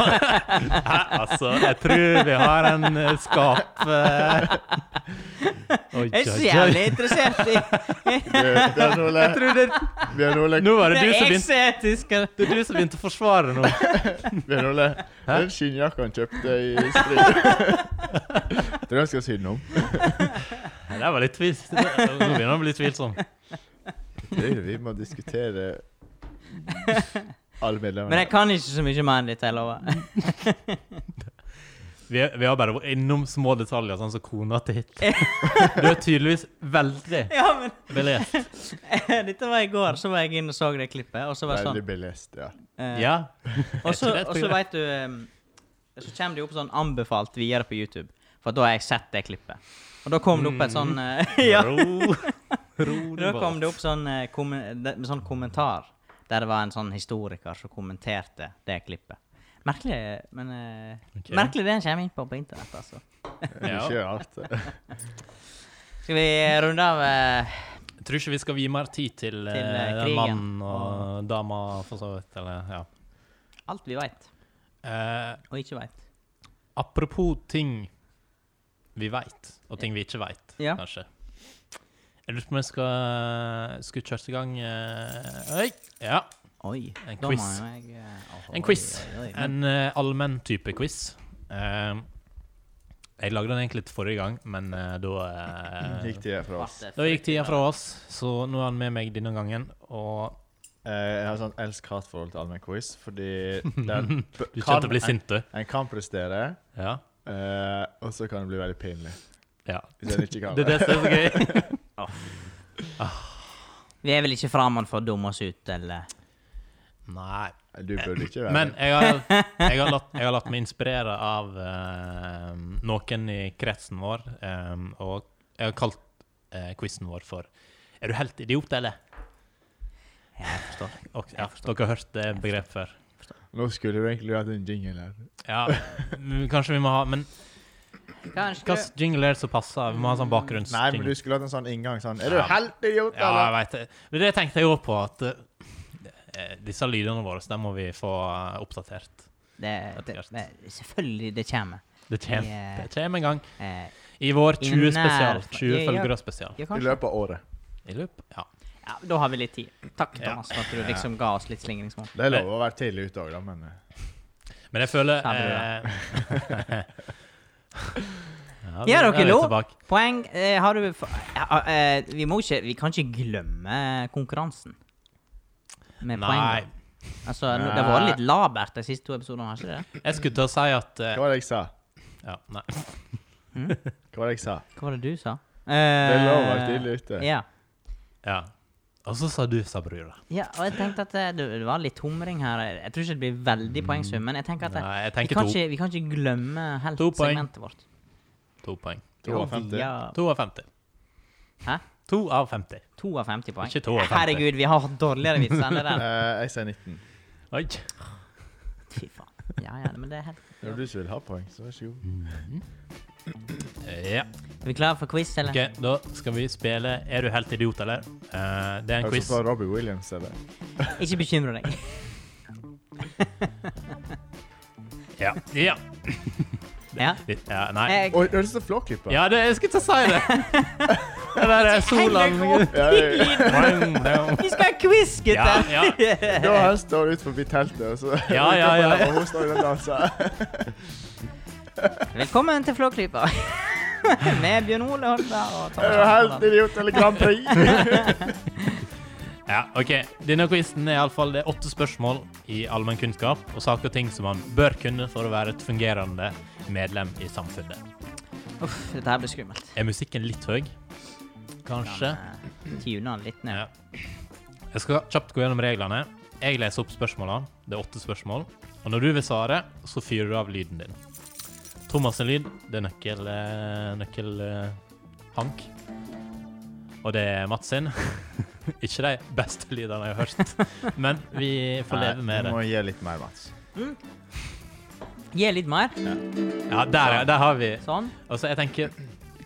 S2: Hæ, altså, jeg tror vi har en eh, skap eh. Oi,
S3: Jeg er så
S2: oi, oi.
S3: jævlig interessert i
S1: Du, Bjørn Ole,
S3: Jeg tror det
S1: Bjørn Ole,
S2: Nå var
S3: det
S2: det du
S3: er
S2: som
S3: jeg
S2: begynte
S3: som er tysker.
S2: det er du som begynte å forsvare nå.
S1: Bjørn Ole.
S2: Hæ?
S1: Den skinnjakka han kjøpte i strid. Tror jeg skal si den om.
S2: Nei, Det var litt tvilsomt. Nå begynner jeg å bli tvilsom.
S1: Det er det vi må diskutere alle
S3: Men
S1: medlemmene.
S3: jeg kan ikke så mye mer enn dette, jeg lover.
S2: Vi, er- vi har bare vært innom små detaljer, sånn som kona til Hitler. Du er tydeligvis veldig
S3: Ja, men eh,
S2: belest.
S3: Dette var i går, så var jeg inn og så det klippet, og så var jeg sånn
S1: Veldig belest, ja.
S3: eh,
S2: Ja.
S3: Og så,
S2: Jeg tror det er et
S3: og så
S2: program.
S3: vet du ehm, Så kommer det jo opp sånn anbefalt videre på YouTube, for da har jeg sett det klippet. Og da kom det
S2: Mm.
S3: opp et sånn eh, Ja.
S2: Ro. Ro
S3: Da kom det opp sånn, eh, kommen- de- sånn kommentar der det var en sånn historiker som kommenterte det klippet. Merkelig, men eh,
S2: Ok.
S3: Merkelig det en kommer inn på på internett, altså.
S2: Ja.
S1: Ikke alt.
S3: Skal vi runde av eh,
S2: Jeg tror ikke vi skal vie mer tid til,
S3: Til, eh,
S2: eh,
S3: krigen.
S2: mannen og dama, for så vidt. Eller, ja.
S3: alt vi veit
S2: Eh,
S3: og ikke veit?
S2: apropos ting vi veit, og ting vi ikke veit,
S3: Ja.
S2: kanskje. Jeg lurer på om jeg skal, skal kjøre i gang eh, Oi! Ja.
S3: Oi.
S2: En
S3: da må
S2: quiz.
S3: jeg, eh,
S2: En
S3: oi,
S2: quiz.
S3: oi, oi.
S2: En eh, allmenn type quiz. Eh, jeg lagde den egentlig til forrige gang, men eh, da eh,
S1: Gikk tida fra oss.
S3: Ble det
S2: Da gikk tida
S3: fryktelig
S2: fra oss, så nå er han med meg denne gangen. Og
S1: Eh, Jeg har sånn elsk-hat-forhold til allmenn quiz, fordi der
S2: du kommer til å bli
S1: en,
S2: sint, du.
S1: en kan prestere,
S2: Ja.
S1: eh, og så kan det bli veldig pinlig
S2: ja.
S1: hvis en ikke kan
S2: Det er det som er så gøy.
S3: Vi er vel ikke fremmed for å dumme oss ut, eller?
S2: Nei.
S1: Du burde ikke være
S2: Men jeg har, jeg har, latt, jeg har latt meg inspirere av eh, noen i kretsen vår, eh, og jeg har kalt uh, quizen vår for Er du helt idiot, eller? Jeg forstår. Ok, ja, dere har hørt det begrepet før.
S1: Nå skulle du egentlig hatt en jingle her.
S2: Ja, men kanskje vi må ha Men
S3: Kanskje
S2: hvilken jingle er det som passer? Vi må ha sånn bakgrunns...
S1: Nei, men du skulle hatt en sånn inngang sånn Er du
S2: Ja.
S1: helt idiot,
S2: Ja, jeg
S1: eller?
S2: vet det. Men Det tenkte jeg òg på, at eh, disse lydene våre, de må vi få eh, oppdatert.
S3: det, det, det, Selvfølgelig det kommer.
S2: Det kommer
S3: Ja.
S2: det kommer en gang.
S3: Eh,
S2: I vår
S3: I
S2: 20
S3: nær
S2: spesial.
S3: fram-
S2: 20
S3: Ja, ja.
S2: følgere spesial.
S3: ja,
S1: I
S3: kanskje.
S1: løpet av året.
S2: I løpet Ja.
S3: Ja, da har vi litt tid. Takk,
S2: Ja.
S3: Thomas, for at du liksom ga oss litt slingringsmål.
S1: Det er
S2: Eh.
S1: lov å være tidlig ute òg, da, men eh,
S2: Men jeg føler
S3: Samme
S2: eh, Ja,
S3: Gir
S2: da
S3: dere
S2: er vi
S3: lov?
S2: tilbake.
S3: Poeng eh, har du for, ja, eh, Vi må ikke Vi kan ikke glemme konkurransen. Med
S2: Nei.
S3: poeng. Altså, nå- det har vært litt labert de siste to episodene, har ikke det?
S2: Jeg skulle til å si at eh,
S1: Hva var det jeg sa?
S2: Ja, nei.
S1: Hva var det jeg sa?
S3: Hva var det du sa? Eh,
S1: Det er eh. lov å være tidlig ute.
S2: Eh,
S3: Ja.
S2: Ja. Og så sa du Sabrura.
S3: ja. Og jeg tenkte at eh, det, det var litt humring her. Jeg tror ikke det blir veldig poengsum, men jeg tenker at eh,
S2: Mm. Nei, jeg
S3: vi,
S2: tenker
S3: kan
S2: to.
S3: ikke, vi kan ikke glemme helt
S2: To poeng.
S3: segmentet vårt.
S2: To poeng.
S1: To av 50.
S3: Ja,
S2: To av 50.
S3: Hæ?
S2: To av 50.
S3: to av 50 poeng.
S2: Ikke to av 50.
S3: Herregud, vi har hatt dårligere vitser enn det der.
S1: Eh, jeg sier 19.
S2: Oi.
S3: Fy faen. Ja, ja, men det er helt
S1: Når du ikke vil ha poeng, så vær så god.
S2: Ja.
S3: Er vi klare for quiz, eller?
S2: Ok, da skal vi spille Er du helt idiot, eller? Eh, det er en
S1: Har du
S2: quiz.
S1: sett på Robbie Williams, eller?
S3: Ikke bekymre deg.
S2: Ja. ja.
S3: Ja. Eh,
S2: Litt, ja nei.
S3: Jeg,
S1: Oi, det høres ut som Flåklypa.
S2: Ja, det, jeg skulle til å si det! Det der er Solan
S1: Ja, ja, ja.
S3: vi skal ha quiz, gutter!
S2: Ja,
S1: Da han står ut forbi teltet, og så
S2: Ja, ja, ja.
S1: Og hun står og danser.
S3: Velkommen til Flåklypa. Med Bjørn Ole Holberg og
S1: Er du helt
S3: Thomas.
S1: idiot eller Grand Prix?
S2: Ja, ok. Denne quizen er iallfall det er åtte spørsmål i allmennkunnskap og saker og ting som man bør kunne for å være et fungerende medlem i samfunnet.
S3: Uff, dette her blir skummelt.
S2: Er musikken litt høy? Kanskje.
S3: Tune den eh, litt ned.
S2: Ja. Jeg skal kjapt gå gjennom reglene. Jeg leser opp spørsmålene. Det er åtte spørsmål. Og når du vil svare, så fyrer du av lyden din. Thomas' sin lyd, det er nøkkel... eh, nøkkel... eh, hank. Og det er Mats sin. Ikke de beste lydene jeg har hørt, men vi får leve med
S1: Du
S2: det.
S1: må gi litt mer, Mats.
S3: Gi litt mer.
S2: Ja, der, ja, der har vi.
S3: Sånn.
S2: Altså, jeg tenker,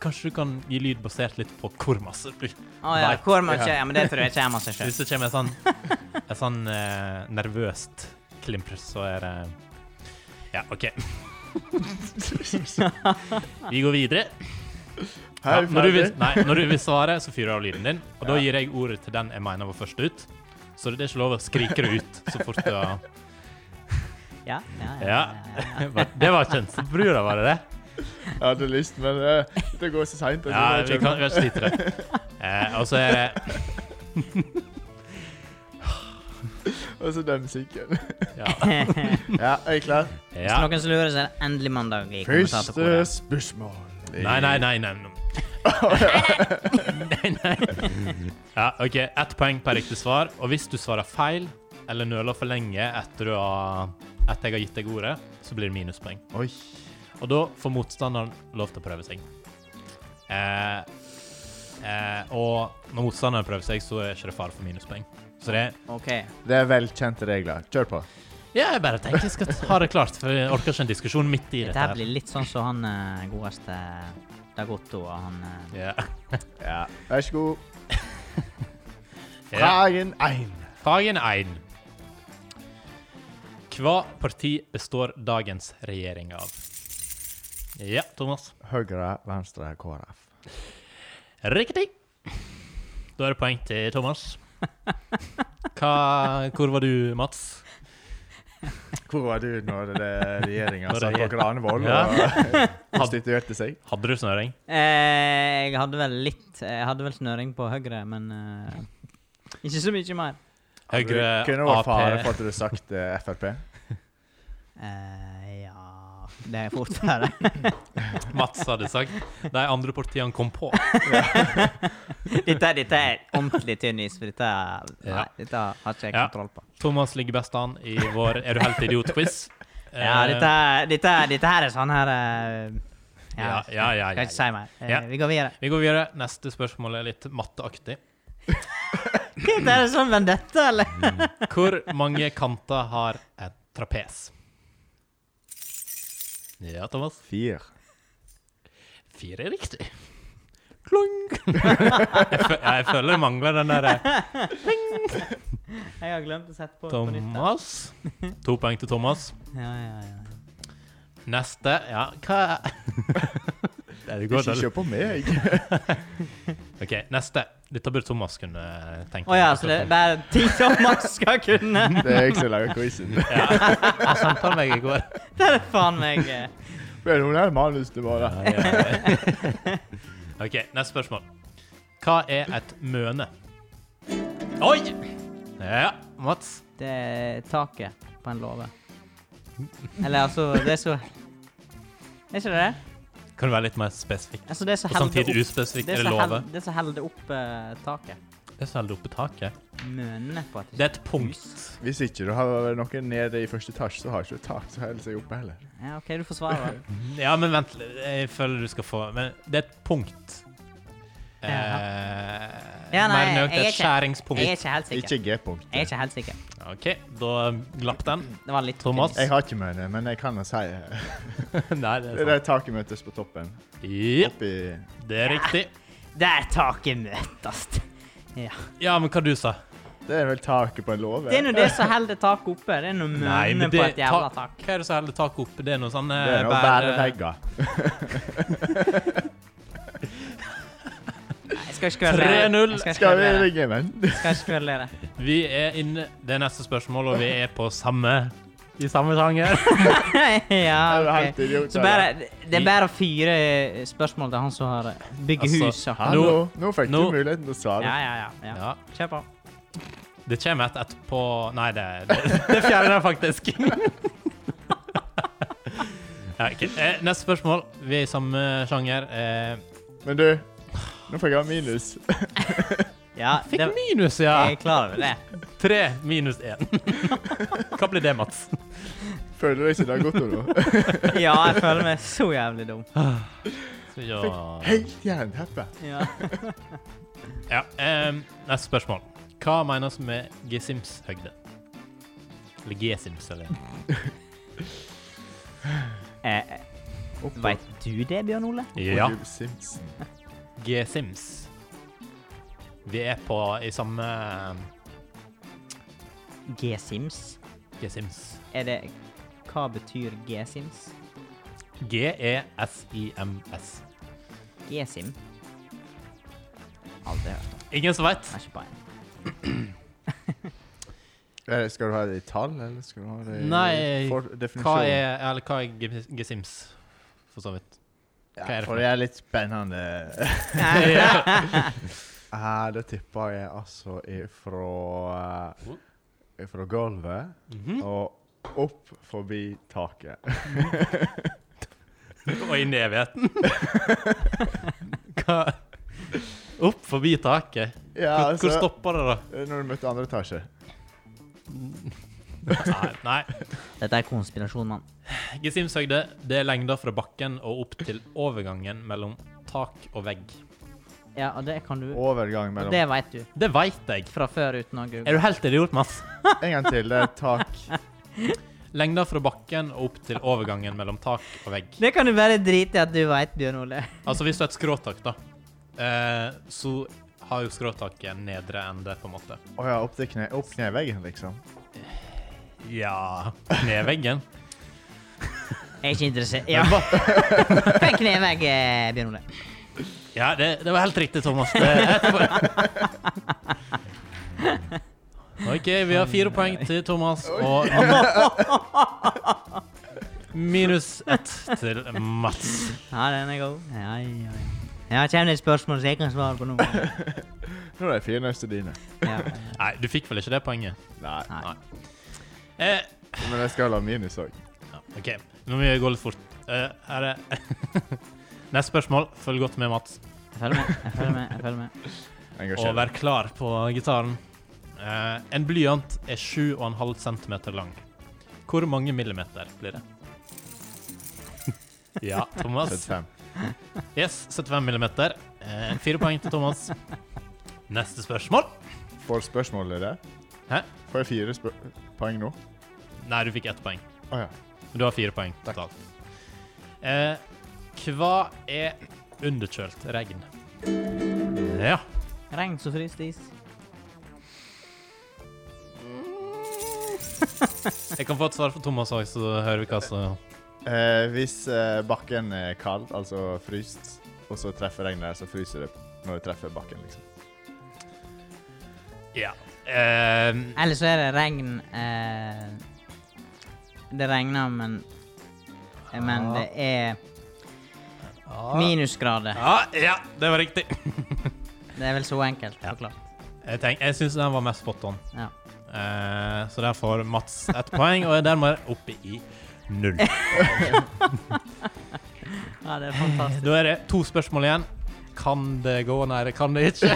S2: kanskje du kan gi lyd basert litt på hvor masse du...
S3: Å ja,
S2: Nei.
S3: hvor mye? Ja, men det tror jeg kommer av seg sjøl.
S2: Hvis det kommer en sånn, en sånn eh, nervøst klimper, så er det Ja, OK. Vi går videre. Ja,
S1: Her er vi
S2: når, du vil,
S1: ferdig.
S2: nei, når du vil svare, så fyrer jeg av lyden din. Og da gir jeg ordet til den jeg mener var først ut. Så det er ikke lov å skrike det ut så fort du har
S3: Ja, ja, ja,
S2: Ja. Det var kjent. Brura, var det det?
S1: Jeg hadde lyst, men eh, det går så seint.
S2: Ja, vi kan vi kan ikke slite det. Eh, og så er det
S1: Og så den musikken.
S2: Ja.
S1: Ja, er jeg klar?
S3: Hvis
S2: ja.
S3: noen som lurer, så er det endelig mandag i
S1: Første
S3: kommentatorkoret.
S1: spørsmål.
S2: Nei, nei, nei. nei. nei. nei, nei. Ja, OK. Ett poeng per riktig svar. Og hvis du svarer feil eller nøler for lenge etter, du har, etter jeg har gitt deg ordet, så blir det minuspoeng.
S1: Oi.
S2: Og da får motstanderen lov til å prøve seg. Eh, eh, og når motstanderen prøver seg, så er det ikke det fare for minuspoeng. Så det
S3: OK.
S1: Det er velkjente regler. Kjør på.
S2: Ja, jeg bare tenker jeg skal ha det klart, for jeg orker ikke en diskusjon midt i
S3: Dette
S2: dette.
S3: her blir litt sånn som han eh, godeste Dagotto og han eh,
S2: Ja.
S1: Ja. Vær så god.
S2: Ja.
S1: Fragen 1.
S2: Fagen 1. Hva parti består dagens regjering av? Ja, Thomas.
S1: Høyre, venstre, KrF.
S2: Riktig. Da er det poeng til Thomas. Hva, hvor var du, Mats?
S1: Hvor var du når regjeringa
S2: Når
S1: satt på
S2: regjeringen-
S1: Granevoll og konstituerte seg?
S2: Hadde du snøring?
S3: eh, Jeg hadde vel litt eh, Jeg hadde vel snøring på høyre, men eh, ikke så mye mer.
S2: Høyre,
S1: Det Kunne vært fare for at
S2: Ap.
S1: du hadde sagt eh, Frp.
S3: Eh, ja Det er fort være.
S2: Mats hadde sagt. De andre partiene kom på.
S3: dette, dette er ordentlig tynn is, for dette, nei,
S2: Ja.
S3: dette har ikke jeg
S2: Ja.
S3: kontroll på.
S2: Thomas ligger best an i vår Er du helt idiot-quiz.
S3: Ja,
S2: Eh,
S3: dette, dette, dette her er sånn her eh,
S2: ja, ja,
S3: ja,
S2: ja,
S3: Kan
S2: ja, ja.
S3: ikke si mer. Eh,
S2: Ja.
S3: Vi går videre.
S2: Vi går videre. Neste spørsmål er litt matteaktig.
S3: Dette er sånn vendetta, eller?
S2: Hvor mange kanter har et trapes? Ja, Thomas.
S1: Fire.
S2: Fire er riktig. Klong! jeg, fø jeg føler det mangler den eh, derre
S3: Jeg har glemt å sette på på nytt. da.
S2: Thomas. To poeng til Thomas.
S3: Ja, ja, ja.
S2: Neste Ja, hva Nei, det
S1: Ikke
S2: går dårlig.
S1: se på meg.
S2: OK, neste. Dette burde Thomas kunne tenke
S3: Å ja, så det er bare ting som man skal kunne?
S1: Det er jeg som lager quizen.
S2: ja. Jeg sendte han meg i går.
S3: Det er faen meg eh,
S1: Men hun er manus til bare.
S2: Ja, ja, ja. OK, neste spørsmål. Hva er et møne? Oi! Ja, Mats.
S3: Det er eh, taket på en låve. Eller altså Det er så Er ikke det det?
S2: Kan du være litt mer spesifikk?
S3: Altså, det er så
S2: Og samtidig
S3: heldig opp
S2: uspesifikk?
S3: Det er
S2: Er
S3: så
S2: det love?
S3: held- det er så heldig opp eh, taket.
S2: Det er så heldig oppe i taket.
S3: Mønene på at
S2: Det er et punkt.
S1: Hvis ikke du har noen nede i første etasje, så har ikke du tak til å holde seg oppe heller.
S3: Ja, OK, du forsvarer. det.
S2: Ja, men vent litt. Jeg føler du skal få Men det er et punkt. Eh,
S3: Ja, nei,
S2: mer nøyaktig
S3: jeg er
S2: et
S3: ikke-
S2: skjæringspunkt.
S3: Jeg er ikke helt sikker.
S1: Ikke G-punkt.
S3: Jeg er ikke helt sikker.
S2: OK, da glapp den.
S3: Det var litt
S2: Thomas?
S1: Jeg har ikke møne, men jeg kan jo si eh,
S2: nei,
S1: Det er
S2: det er sant.
S1: der taket møtes på toppen.
S2: Ja,
S1: Oppi
S2: det er riktig.
S3: Der taket møtes. Ja.
S2: Ja, men hva du sa
S1: Det er vel taket på en låve.
S3: Det er nå det som holder taket oppe. Det er nå mønene på et jævla
S2: ta-
S3: tak.
S2: Hva er det som holder taket oppe? Det er noe sånn eh,
S1: Det er noe
S2: bære-
S1: bærevegger.
S3: Nei, Jeg skal ikke
S2: 3-0.
S3: kverulere. Jeg skal ikke
S1: Skal vi
S3: kverulere.
S1: ringe, men?
S3: Jeg skal ikke kverulere.
S2: Vi er inne Det er neste spørsmål, og vi er på samme I samme sanger.
S1: Er du
S3: ja,
S1: helt
S3: ok.
S1: idiot?
S3: Så
S1: eller?
S3: bare, det er bare fire eh, spørsmål til han som har bygget
S2: Altså,
S3: hus. og-
S1: Hallo,
S2: Nå-
S1: nå fikk
S2: nå-
S1: du muligheten til å svare.
S3: Ja, ja, ja. ja.
S2: Ja.
S3: Kjør på.
S2: Det kommer et etterpå Nei, det, det, det fjerner jeg faktisk. ja, ok. eh, neste spørsmål. Vi er i samme sjanger. Eh,
S1: Men du, nå fikk jeg minus.
S3: Ja,
S2: fikk
S3: det,
S2: minus, ja.
S3: jeg er klar over det.
S2: Tre minus én. Hva blir det, Mats?
S1: Føler du ikke det har gått nå?
S3: Ja, jeg føler meg så jævlig dum.
S2: Ja,
S1: Helt jernteppe.
S3: Ja.
S2: ja eh, Neste spørsmål. Hva menes med G-Sims-høgde? Eller G-Sims, eller
S3: Eh,
S1: Opp på-
S3: Veit du det, Bjørn Ole?
S2: Ja.
S1: på Simpson.
S2: G-Sims. Vi er på i samme
S3: G-Sims?
S2: G-Sims.
S3: Er det Hva betyr G-Sims?
S2: G-E-S-I-M-S.
S3: G-Sim? Aldri hørt om.
S2: Ingen som veit?
S3: Har ikke peiling.
S1: Eh, Skal du ha det i tall, eller skal du ha det i
S2: Nei,
S1: for
S2: Hva
S1: definisjon?
S2: er, eller hva er G- G-Sims, for så vidt?
S1: Ja,
S2: hva er det for
S1: for det er litt spennende.
S2: ja.
S1: Eh, det tipper jeg altså ifra
S2: Oh.
S1: Fra gulvet og opp forbi taket.
S2: Og inn i evigheten. hva? Opp forbi taket.
S1: Ja,
S2: Hvor, hvor
S1: altså,
S2: stopper det, da?
S1: eh, når du møter andre etasje.
S2: Nei, nei.
S3: Dette er konspirasjon, mann.
S2: Gesimshøyde det er lengda fra bakken og opp til overgangen mellom tak og vegg.
S3: Ja, og det kan du.
S1: Overgang
S3: Og
S1: mellom
S3: det veit du.
S2: Det veit jeg.
S3: Fra før uten å google.
S2: Er du helt idiot, Mats?
S1: En gang til. Det er tak
S2: Lengda fra bakken og opp til overgangen mellom tak og vegg.
S3: Det kan du bare drite i at du veit, Bjørn Ole.
S2: Altså hvis du har et skråtak, da, eh, så har jo skråtaket en nedre ende, på en måte.
S1: Å ja, opp til kne, opp kneveggen, liksom.
S2: Ja Ned veggen.
S3: Jeg er ikke interessert. Ja. Fikk knevegg, eh, Bjørn Ole.
S2: Ja, det, det var helt riktig, Thomas. Det, etterpå. OK, vi har fire poeng til Thomas og Minus ett til Mats.
S3: Ja, den er god. Ja, ja, ja. Ja, kommer det et spørsmål som jeg kan svare på nå?
S1: Nå er de fire neste dine.
S3: Ja.
S2: Nei, du fikk vel ikke det poenget?
S1: Nei,
S3: Nei.
S2: Eh,
S1: men jeg skal ha minus òg.
S2: ja, OK, nå må vi gå litt fort. Eh, her er Neste spørsmål. Følg godt med, Mats.
S3: Jeg følger med. jeg følger med, jeg følger med.
S2: Og
S1: Engasjert.
S2: vær klar på gitaren. Eh, en blyant er 7,5 cm lang. Hvor mange millimeter blir det? Ja, Thomas.
S1: 75.
S2: Yes, 75 millimeter. Eh, fire poeng til Thomas. Neste spørsmål.
S1: Får spørsmålet det?
S2: Hæ?
S1: Får jeg fire spør poeng nå?
S2: Nei, du fikk ett poeng.
S1: Å ja.
S2: Men Du har fire poeng
S1: Takk.
S2: totalt. Eh, hva er underkjølt regn? Ja.
S3: Regn som fryst is.
S2: Jeg kan få et svar fra Thomas òg, så hører vi hva som
S1: Eh, hvis eh, bakken er kald, altså fryst, og så treffer regnet der, så fryser det når det treffer bakken, liksom.
S2: Ja. Eh,
S3: Eller så er det regn eh, Det regner, men eh, Men det er minusgrader.
S2: Ja, ja, det var riktig.
S3: Det er vel så enkelt forklart.
S2: Jeg, tenk, jeg syns den var mest spot on.
S3: Ja.
S2: Eh, så der får Mats ett poeng, og er dermed oppe i null.
S3: ja, det er fantastisk.
S2: Da er det to spørsmål igjen. Kan det gå? Nei, det kan det ikke.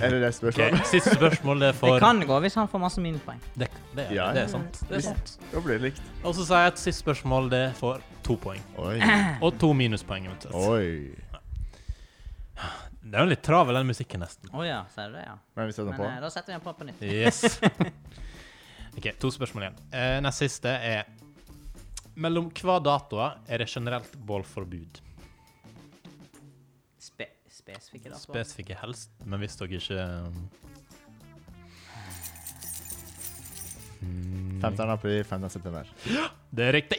S1: Er det det
S2: Ok,
S1: spørsmålet?
S2: Siste spørsmål det er for
S3: Det kan gå hvis han får masse minuspoeng.
S2: det, det, er-
S1: Ja.
S2: det er sant. Det er sant.
S1: Da blir det likt.
S2: Og så sier jeg at siste spørsmål det er for to poeng.
S1: Oi.
S2: Og to minuspoeng. eventuelt.
S1: Oi.
S2: Det er jo litt travel, den musikken, nesten.
S3: Å ja, sier du det, ja.
S1: Men vi setter
S3: Men
S1: den på.
S3: eh, da setter vi den på på nytt.
S2: Yes. OK, to spørsmål igjen. Eh, Nest siste er Mellom hva datoer er det generelt bålforbud?
S3: Spe spesifikke datoer.
S2: Spesifikke helst, men hvis dere ikke um,
S1: 15. april, 15. september.
S2: Det er riktig.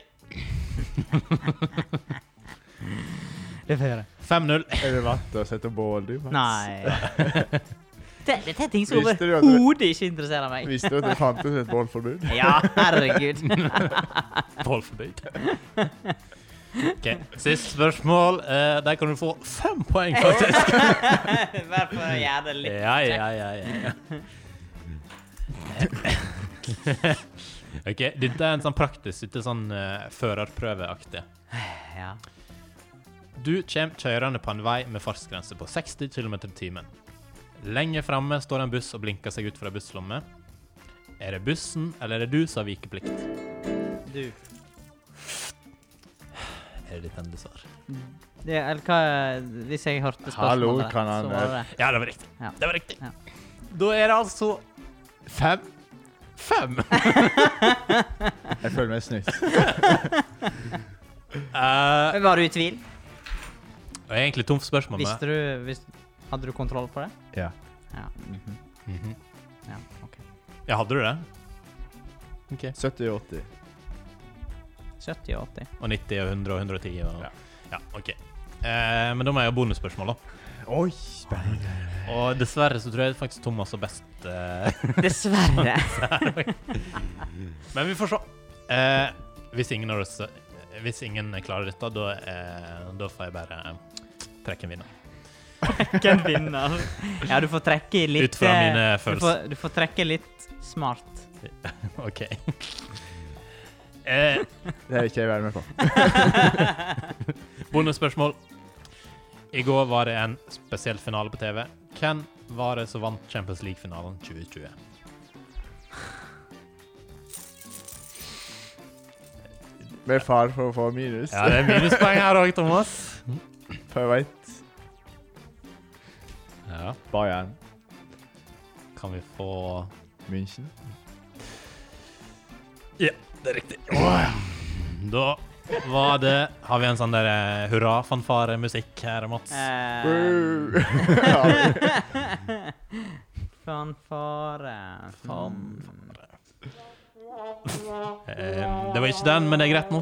S3: Det får jeg gjøre.
S2: 5-0.
S1: Er du vant til å sette bål, du? Mats?
S3: Nei. det, dette er ting som
S1: Visste du at det-
S3: overhodet ikke interesserer meg.
S1: Visste du at det fantes et bålforbud?
S3: Ja, herregud.
S2: Bålforbud. OK, siste spørsmål. Eh, der kan du få fem poeng, faktisk.
S3: Bare for å gjøre det litt
S2: Ja, ja, ja. ja. OK, dette er en sånn praktisk, ikke sånn eh, førerprøveaktig.
S3: Ja.
S2: Du kommer kjørende på en vei med fartsgrense på 60 km i timen. Lenge framme står en buss og blinker seg ut fra busslommet. Er det bussen, eller er det du som har vikeplikt?
S3: Du.
S2: Er det ditt endelige svar?
S3: Det, eller hva Hvis jeg hørte spørsmålet
S1: Hallo,
S3: rett,
S1: kan han-
S3: så var det
S2: Ja, det var riktig.
S3: Ja.
S2: Det var riktig.
S3: Ja.
S2: Da er det altså fem. Fem!
S1: Jeg føler meg snytt.
S2: Eh,
S3: Men Var du i tvil?
S2: og jeg er egentlig tom for spørsmål. men-
S3: Visste du vis, Hadde du kontroll på det?
S1: Ja.
S3: Ja.
S2: Mhm.
S3: ja ok.
S2: Ja, hadde du det? Ok.
S1: 70 og 80.
S3: 70 og 80.
S2: Og 90 og 100 og 110 og
S1: Ja.
S2: Ja, OK. Eh, men da må jeg ha bonusspørsmål, da.
S1: Oi, spennende.
S2: Og dessverre så tror jeg faktisk Thomas har best. eh,
S3: Dessverre.
S2: Men vi får se. Eh, hvis, ingen av oss, eh, hvis ingen klarer dette, da, eh, da får jeg bare eh, trekke en vinner.
S3: Hvem vinner? Ja, du får trekke i litt
S2: Ut fra
S3: eh,
S2: mine
S3: du
S2: følelser.
S3: får, du får trekke litt smart.
S2: OK. Eh,
S1: Det er ikke jeg være med på.
S2: Bonusspørsmål. I går var det en spesiell finale på TV. Hvem var det som vant Champions League-finalen 2020?
S1: Med fare for å få minus.
S2: Ja, det er minuspoeng her òg, Thomas.
S1: For jeg vet
S2: Ja.
S1: Bayern,
S2: Kan vi få
S1: München
S2: Ja, det er riktig. Da var det Har vi en sånn der eh, hurra-fanfare-musikk her, Mats?
S1: Um,
S3: Eh,
S1: Wow.
S3: Fanfare.
S2: Fanfare. Eh, Det var ikke den, men det er greit nå.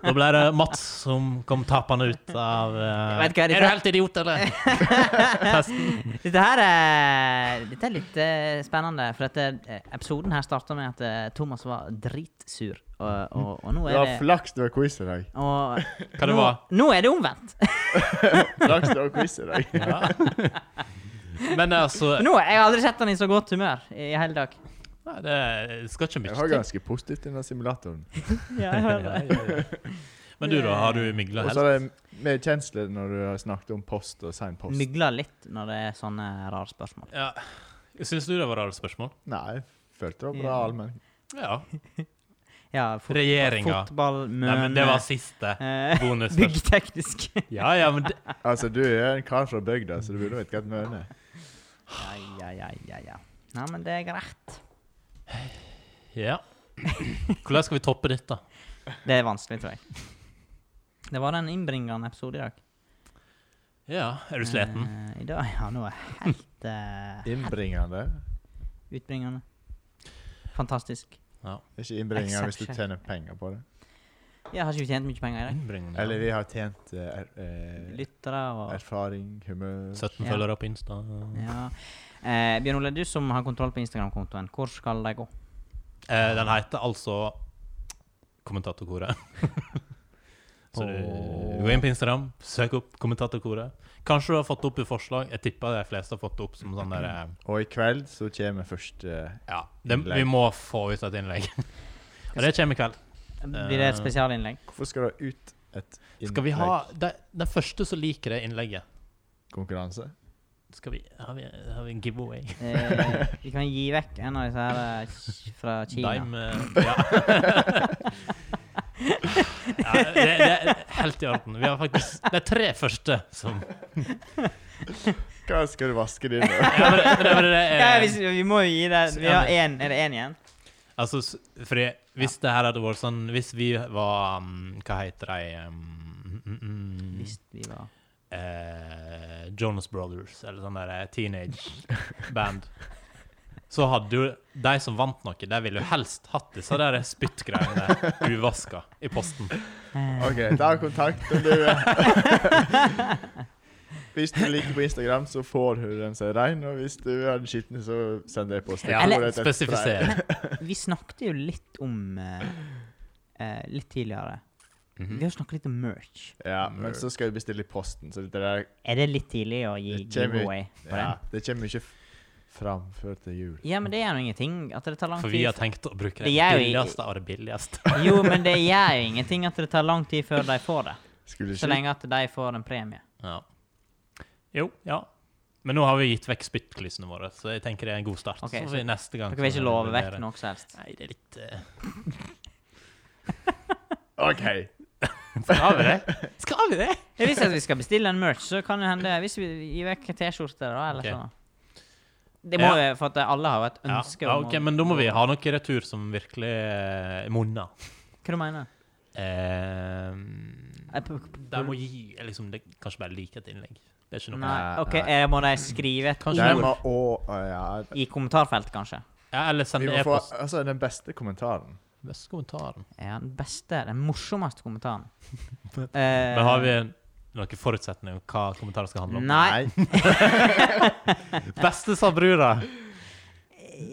S2: Da ble det Mats som kom tapende ut av eh,
S3: Jeg vet hva,
S2: Er
S3: dette-
S2: du helt idiot, eller? Testen.
S3: Dette her er, dette er litt eh, spennende, for dette, eh, episoden her starta med at eh, Thomas var dritsur, og, og, og nå
S1: Det
S3: er
S1: var
S3: det
S1: flaks det var quiz i dag.
S3: og,
S2: Hva det
S3: nå,
S2: var?
S3: nå er det omvendt.
S1: Flaks det var quiz i dag.
S2: Ja. Men altså
S3: Nå, Jeg har aldri sett han i så godt humør i hele dag.
S2: nei, Det skal ikke
S1: Jeg
S2: mye
S1: var
S2: til.
S1: ganske positiv til denne simulatoren.
S3: Ja, jeg
S2: Ja, ja, ja. Men du, da? Har du mygla
S1: Og
S2: helt?
S1: så er det mer kjensle når du har snakket om post og sein post.
S3: Mygler litt når det er sånne rare spørsmål.
S2: Ja. Syns du det var rare spørsmål?
S1: Nei, jeg følte det var bra
S3: Ja.
S1: allmenn.
S2: Ja.
S3: Ja, fot
S2: Regjeringa.
S3: Fotball,
S2: Nei,
S3: møne
S2: men det var siste
S3: eh,
S2: bonusspørsmål.
S3: Byggteknisk.
S2: Ja, ja, men det,
S1: Altså, du er en kar fra bygda, så du burde vite hva et møne er.
S3: Ja, ja, ja, ja, ja. Nei, men det er greit.
S2: ja. Hvordan skal vi toppe ditt, da?
S3: Det er vanskelig, tror jeg. Det var den innbringende episode i dag.
S2: Ja, Er du sliten?
S3: Eh, I dag, ja, nå er jeg helt eh,
S1: Innbringende.
S3: utbringende. Fantastisk.
S1: Det er ikke innbringende hvis du
S3: Exception.
S1: tjener penger på det.
S3: Jeg har ikke tjent mye penger i dag.
S2: Innbringende.
S1: Eller vi har tjent eh, er, eh,
S3: Lyttere og
S1: erfaring, humør
S2: 17
S3: Ja.
S2: følgere på Insta.
S3: ja. eh, Bjørn Ole, du som har kontroll på Instagram-kontoen, hvor skal de gå?
S2: Eh, den heter altså Kommentatorkoret. Så du gå inn på Instagram, søk opp Kommentatorkoret. Kanskje du har fått opp i forslag. Jeg tipper de fleste har fått det opp som sånn der eh,
S1: Og i kveld så kommer eh, første
S2: Ja, det, vi må få ut et innlegg. Og det kommer i kveld.
S3: Blir
S2: Eh.
S3: det et spesialinnlegg?
S1: Hvorfor skal det ut et
S2: Skal vi ha de- Den første som liker det innlegget
S1: innleggskonkurranse?
S2: skal vi, har, vi, har vi en giveaway?
S3: Eh, vi kan gi vekk en av disse her eh, k- fra Kina.
S2: Dime eh, Ja. ja det, det er helt i orden. Vi har faktisk Det er tre første som
S1: Hva skal du vaske det inn med?
S2: ja, men, det- men, det- men det
S3: Ja,
S2: er-
S3: vi, s- vi må jo gi det. Vi har en, er det én igjen?
S2: Altså, s- fordi hvis det her hadde vært sånn Hvis vi var um, Hva heter de um, mm, mm,
S3: Hvis vi var
S2: eh, Jonas Brothers, eller sånn der eh, teenage-band, så hadde jo de som vant noe, de ville jo helst hatt disse der spyttgreiene uvaska i posten.
S3: eh,
S1: OK, ta kontakt om du
S3: Eh,
S1: Hvis du liker på Instagram, så får du den som er rein, og hvis du har den skitne, så send det på oss. Det
S2: Ja,
S1: kommer
S3: Eller-
S1: et etterpå.
S2: spesifisere.
S3: Vi snakket jo litt om eh, eh, Litt tidligere.
S2: Mm.
S3: Vi
S2: Mhm.
S3: har snakket litt om merch.
S1: Ja, men så skal vi bestille i posten, så dette der
S3: Er det litt tidlig å gi
S1: Det kommer-
S3: giveaway på
S1: ja,
S3: den?
S1: Det kommer ikke f- fram før til jul.
S3: Ja, men det gjør jo ingenting at det tar lang
S2: For vi har
S3: tid.
S2: tenkt å bruke det
S3: Det er jo i-
S2: billigste av det billigste.
S3: Jo, men det gjør jo ingenting at det tar lang tid før de får det.
S1: Skulle
S3: Så
S1: ikke
S3: lenge at de får en premie.
S2: Ja. Jo, ja. Men nå har vi gitt vekk spyttklissene våre, så jeg tenker det er en god start.
S3: Ok,
S2: så får vi
S3: så
S2: neste gang
S3: Dere vil
S2: så
S3: ikke love
S2: vurdere.
S3: vekk noe som helst.
S2: Nei, det er litt eh,
S1: OK.
S2: Skal vi det? Skal vi det?
S3: Ja, Hvis at vi skal bestille en merch, så kan det hende Hvis vi gir vekk T-skjorter, da, eller
S2: Ok.
S3: sånn. Det må jo for at alle har jo et
S2: Ja,
S3: ønske
S2: ja,
S3: om
S2: ok, men da må vi ha noe retur som virkelig eh, monner.
S3: Hva du mener
S2: Eh,
S3: Eh, p- p-
S2: de må gi liksom, det, Kanskje bare like et innlegg. Det er ikke noe
S3: Nei,
S1: Nei,
S3: OK,
S1: nei.
S3: eh, må de skrive et
S2: Kanskje
S1: Der
S3: ord
S1: må å, å, ja.
S3: i kommentarfelt, kanskje?
S2: ja, Eller
S1: Vi
S2: send
S1: må få
S2: e-post.
S1: altså, den beste kommentaren.
S2: Beste kommentaren.
S3: Ja, den beste, den morsomste kommentaren.
S2: Men har vi noen forutsetninger om hva kommentaren skal handle om?
S3: Eh. Nei.
S2: Beste sa brura!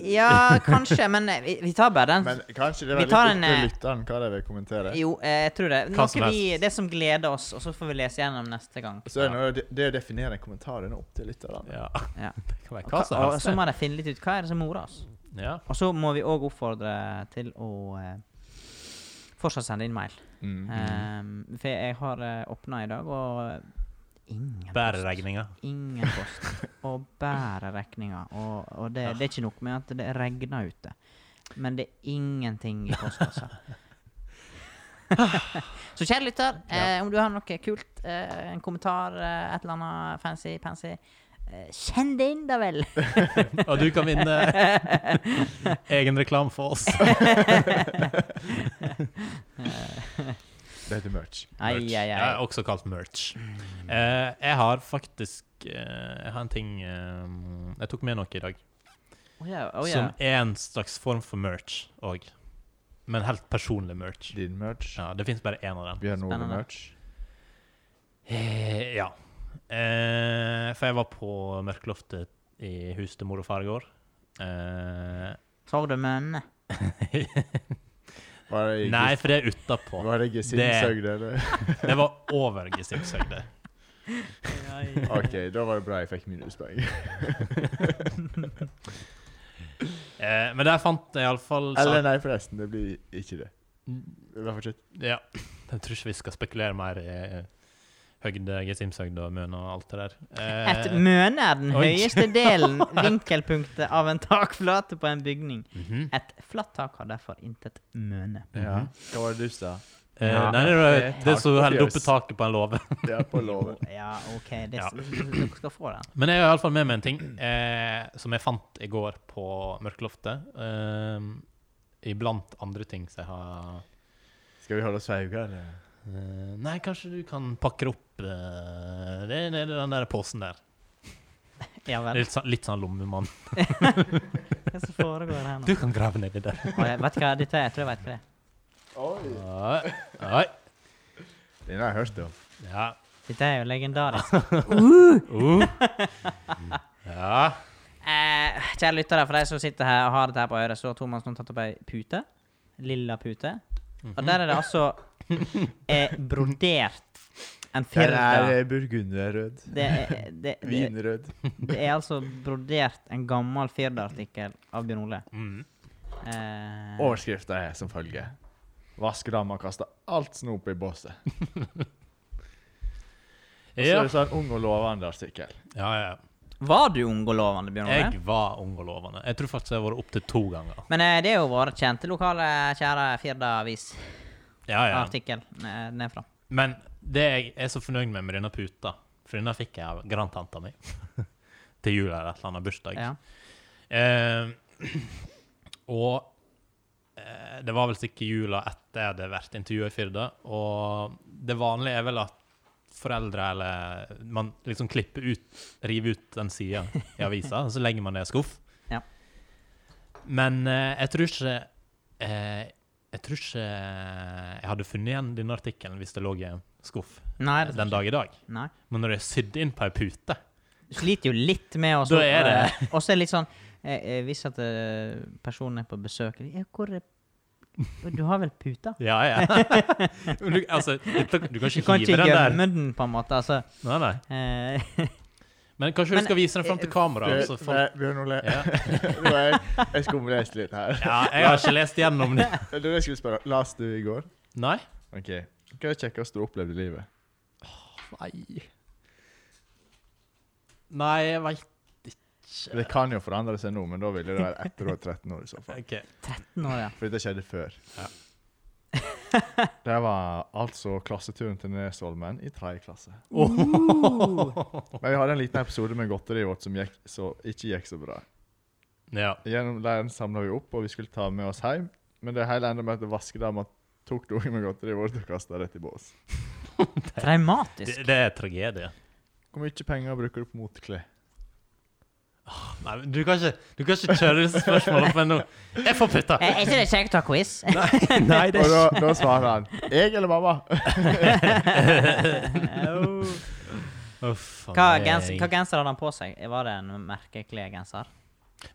S3: Ja, kanskje, men eh, vi, vi tar bare den.
S1: Men kanskje det
S3: Vi
S1: var litt
S3: tar
S1: opp
S3: en,
S1: til
S3: eh,
S1: lytteren hva de vil kommentere.
S3: Jo, eh, jeg tror det.
S2: Hva
S3: Noe
S2: som
S3: vi, det som gleder oss, og så får vi lese gjennom neste gang.
S1: Så er det, noe- det- det å definere en kommentar er nå opp til lytterne.
S2: Ja.
S3: Ja.
S2: Det kan være
S3: Og,
S2: hva
S3: hva-
S2: som
S3: og
S2: helst.
S3: så må de finne litt ut hva er det som morer oss.
S2: det. Ja.
S3: Og så må vi òg oppfordre til å eh, fortsatt sende inn mail.
S1: Mm.
S3: Eh, for jeg har eh, åpna i dag, og eh, ingen
S2: Bærer
S3: post.
S2: regninga.
S3: Ingen post. Og bærer regninga. Og, og det, det er ikke nok med at det regner ute, men det er ingenting i postkassa. Så kjære lytter, eh, om du har noe kult, eh, en kommentar, eh, et eller annet fancy-pansy, eh, Kjenn det inn, da vel!
S2: Og du kan vinne egen reklame for oss.
S1: Det heter merch.
S3: Ai,
S2: Merch.
S3: ai,
S2: Ja,
S3: ai.
S2: også kalt merch. Eh, jeg har faktisk eh, Jeg har en ting eh, Jeg tok med noe i dag.
S3: Å ja, å ja.
S2: Som er en slags form for merch òg. Men helt personlig merch.
S1: Din merch.
S2: Ja, Det fins bare én av den.
S1: Vi har noe
S3: Spennende.
S1: merch.
S2: Eh, ja. Eh, for jeg var på Mørkloftet i huset til mor og far i går. Eh,
S3: Sorg du mønne.
S1: Var det i
S2: nei,
S1: Gis-
S2: for det er utapå.
S1: Var det Gesinnsøgd, eller?
S2: Det var over Gesinnshøgde.
S1: OK, da var det bra jeg fikk minuspoeng.
S2: Eh, men der fant jeg iallfall
S1: Eller nei, forresten. Det blir ikke det. Det var fortsatt
S2: Ja. Jeg tror ikke vi skal spekulere mer i eh, høgde, Gesimshøgde og Møn og alt det der.
S3: Et
S2: Eh,
S3: møne er den
S2: Oi.
S3: høyeste delen, vinkelpunktet, av en takflate på en bygning.
S2: mhm.
S3: Et flatt tak har derfor intet møne.
S1: Ja. Hva var det du sa?
S2: eh,
S3: Ja.
S2: nei, det var det
S1: Tak
S2: som
S1: på
S2: holder oppe
S1: fjøs.
S2: taket på en låve.
S1: Det er på låven.
S3: Ja, OK, det
S2: Ja.
S3: dere skal få den.
S2: Men jeg har iallfall med meg en ting eh, som jeg fant i går på Mørkeloftet. Eh, iblant andre ting som jeg har
S1: Skal vi holde oss feiga, eller?
S2: eh, Nei, kanskje du kan pakke opp eh, det, det, det, den der posen der.
S3: Ja vel.
S2: Litt, sånn- litt sånn lommemann.
S3: Hva som foregår her nå?
S2: Du kan grave nedi der.
S3: Å, jeg vet hva, dette, jeg tror jeg vet hva det er.
S1: Oi.
S2: Oi, oi.
S1: Den har jeg hørt om.
S2: Ja.
S3: Dette er jo legendarisk.
S2: Uh. Ja.
S3: Eh, kjære lyttere, for de som sitter her og har dette her på øret, så har Thomas nå tatt opp ei pute. Lilla pute. Og der er det altså
S2: Mhm.
S3: eh, brodert en
S1: Den er
S3: firda.
S1: eh, burgunderrød.
S3: Det er, det, det,
S1: Vinrød.
S3: det er altså brodert en gammel Firda-artikkel av Bjørn Ole.
S2: Mm.
S3: Eh,
S1: Overskrifta er som følger. Vaskedama kaster alt snopet i båset. Og så
S2: Ja.
S1: er det sånn ung og lovende artikkel.
S2: ja, ja.
S3: var du ung og lovende, Bjørn Ole?
S2: Jeg var ung og lovende. Jeg tror faktisk jeg har vært opptil to ganger.
S3: Men eh, det er jo vår kjente lokale, kjære Firda-avis-artikkel
S2: Ja, ja.
S3: eh, nedfra.
S2: Men det jeg er så fornøyd med med denne puta, for denne fikk jeg av grandtanta mi til jul eller et eller annet bursdag.
S3: Ja.
S2: Eh, og eh, det var vel sikkert jula etter jeg hadde vært intervjuet i Firda, og det vanlige er vel at foreldre eller Man liksom klipper ut, river ut den sida i avisa, og så legger man det i en skuff.
S3: Ja.
S2: Men eh, jeg tror ikke eh, Jeg tror ikke jeg hadde funnet igjen denne artikkelen hvis det lå i en skuff
S3: Nei, det
S2: den dag i dag.
S3: Nei.
S2: Men når det er sydd inn på ei pute
S3: Du sliter jo litt med å
S2: Da er det-
S3: Og så er det litt sånn eh, eh, Hvis at eh, personen er på besøk ja, Hvor er Du har vel puta?
S2: Ja, ja. Men du, altså, du, du kan
S3: Du
S2: ikke
S3: kan
S2: hive
S3: ikke
S2: den der.
S3: gjemme den, på en måte. Altså,
S2: Nei, nei.
S3: eh,
S2: Men kanskje
S3: Men, eh,
S2: du skal vise den fram til kamera?
S1: Du,
S2: så Altså, folk...
S1: nei, Bjørn Ole,
S2: ja.
S1: nå er jeg, jeg skumleste litt her.
S2: ja, jeg har ikke lest gjennom det.
S1: Det var det jeg skulle spørre. Las du i går?
S2: Nei?
S1: OK. Hva er det kjekkeste du opplevde i livet?
S2: Nei, Nei jeg veit
S1: Det kan jo forandre seg nå, men da ville det være etter du var 13 år i så fall.
S2: ikke.
S3: nå, ja.
S1: For dette skjedde før.
S2: Ja.
S1: Det var altså klasseturen til Nesholmen i tredje klasse. Men vi hadde en liten episode med godteriet vårt som gikk, så, ikke gikk så bra.
S2: Ja.
S1: Gjennom leiren samla vi opp, og vi skulle ta med oss hjem. Men det hele enda med at vaskedama tok det unge med godteriet vårt og kasta rett i bås.
S2: Det,
S3: Traumatisk.
S2: det er tragedie.
S1: Hvor mye penger bruker du på moteklær?
S2: Nei, men du kan ikke, du kan ikke kjøre disse spørsmålene på ennå. Jeg får puta!
S3: Eh, Er ikke det kjekt å ha quiz?
S2: Nei,
S1: Og da, da svarer han 'Jeg eller mamma?'
S3: Hva, gens, hva genser hadde han på seg? Var det en merkeklegenser?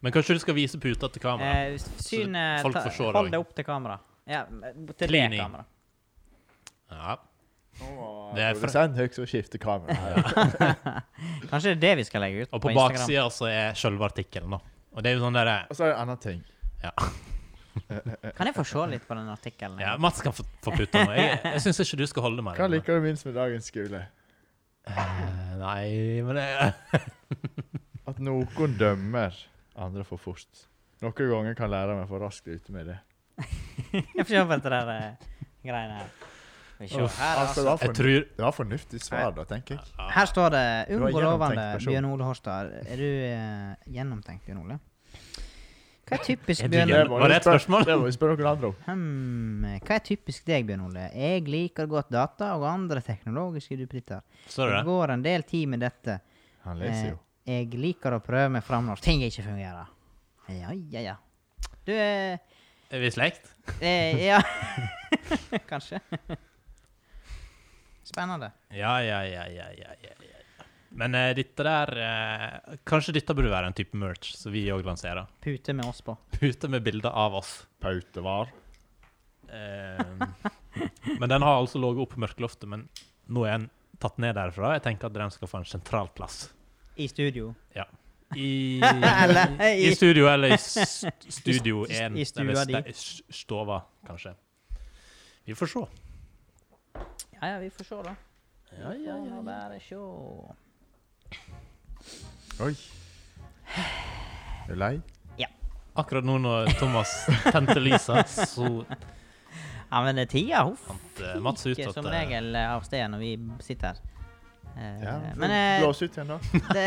S2: Men kanskje du skal vise puta til kamera?
S3: Eh, syn eh,
S2: folk
S3: ta-
S2: forstår det
S3: Hold
S2: også.
S3: det opp til kamera. Ja, til det
S2: Cleaning.
S3: kamera.
S2: Ja. Det
S1: Det
S2: er
S1: er Produsent Høg som skifter kamera.
S3: Kanskje det er det vi skal legge ut
S2: Og på
S3: Instagram?
S2: baksida så er sjølve artikkelen, da. Og det er jo sånn derre
S1: Og så er det en annen ting.
S3: Kan jeg få se litt på den artikkelen?
S2: Ja, Mats kan få, få puta nå. Jeg, jeg syns ikke du skal holde meg.
S1: Hva liker du minst med dagens skole?
S2: Eh, Nei, men det
S1: At noen dømmer andre for fort. Noen ganger kan læreren være for raskt ute med det.
S3: Jeg får se på dette der eh, greiene her. Skal vi se her,
S1: Altså, det,
S3: altså.
S1: var fornu-
S2: Jeg tror
S1: det var fornuftig svar, da, tenker jeg.
S3: Her står det
S1: Du er
S3: 'Unngå
S1: gjennomtenkt
S3: lovende
S1: person.
S3: Bjørn Ole Horstad'. Er du eh, gjennomtenkt, Bjørn Ole? Hva er typisk
S2: Er du
S3: Bjørn
S2: gjennom-
S1: må
S2: var
S1: vi
S2: det et
S1: spørre-
S2: spørsmål?
S1: eh, Det må vi spørre noen andre om.
S3: Hm, Hva er typisk deg, Bjørn Ole? Jeg liker godt data og andre teknologiske duppeditter.
S2: Står det
S3: Det
S2: det?
S3: går en del tid med dette.
S1: Han leser
S3: Eh,
S1: jo.
S3: jeg liker å prøve meg fram når ting ikke fungerer. Ja, ja, ja. Du eh,
S2: Er vi i slekt?
S3: eh, Ja. Kanskje. Spennende.
S2: Ja, ja, ja, ja, ja, ja, ja. Men eh, dette der eh, Kanskje dette burde være en type merch som vi òg lanserer.
S3: Pute med oss på.
S2: Pute med bilder av oss.
S1: Pautevar.
S2: Eh, men den har altså ligget oppe på mørkeloftet, men nå er den tatt ned derfra. Jeg tenker at den skal få en sentral plass.
S3: I studio.
S2: I,
S3: Eller
S2: i,
S3: i-
S2: studio eller i s- studio
S3: I- i
S2: 1.
S3: stua
S2: eller
S3: di.
S2: ste- s- stova, kanskje. Vi får se.
S3: Ja, ja, vi får se, da.
S2: Ja, ja,
S3: Vi
S2: ja,
S3: får bare se.
S1: Oi. Er du lei?
S2: Akkurat nå når Thomas tente lyset, så
S3: Ja, men det er tida hun
S2: fant eh, Mats ut
S3: fyker
S2: at
S3: som
S2: eh,
S3: regel eh, av sted når vi sitter her. Eh,
S1: Ja.
S3: men eh,
S1: Blås ut igjen, da.
S3: det,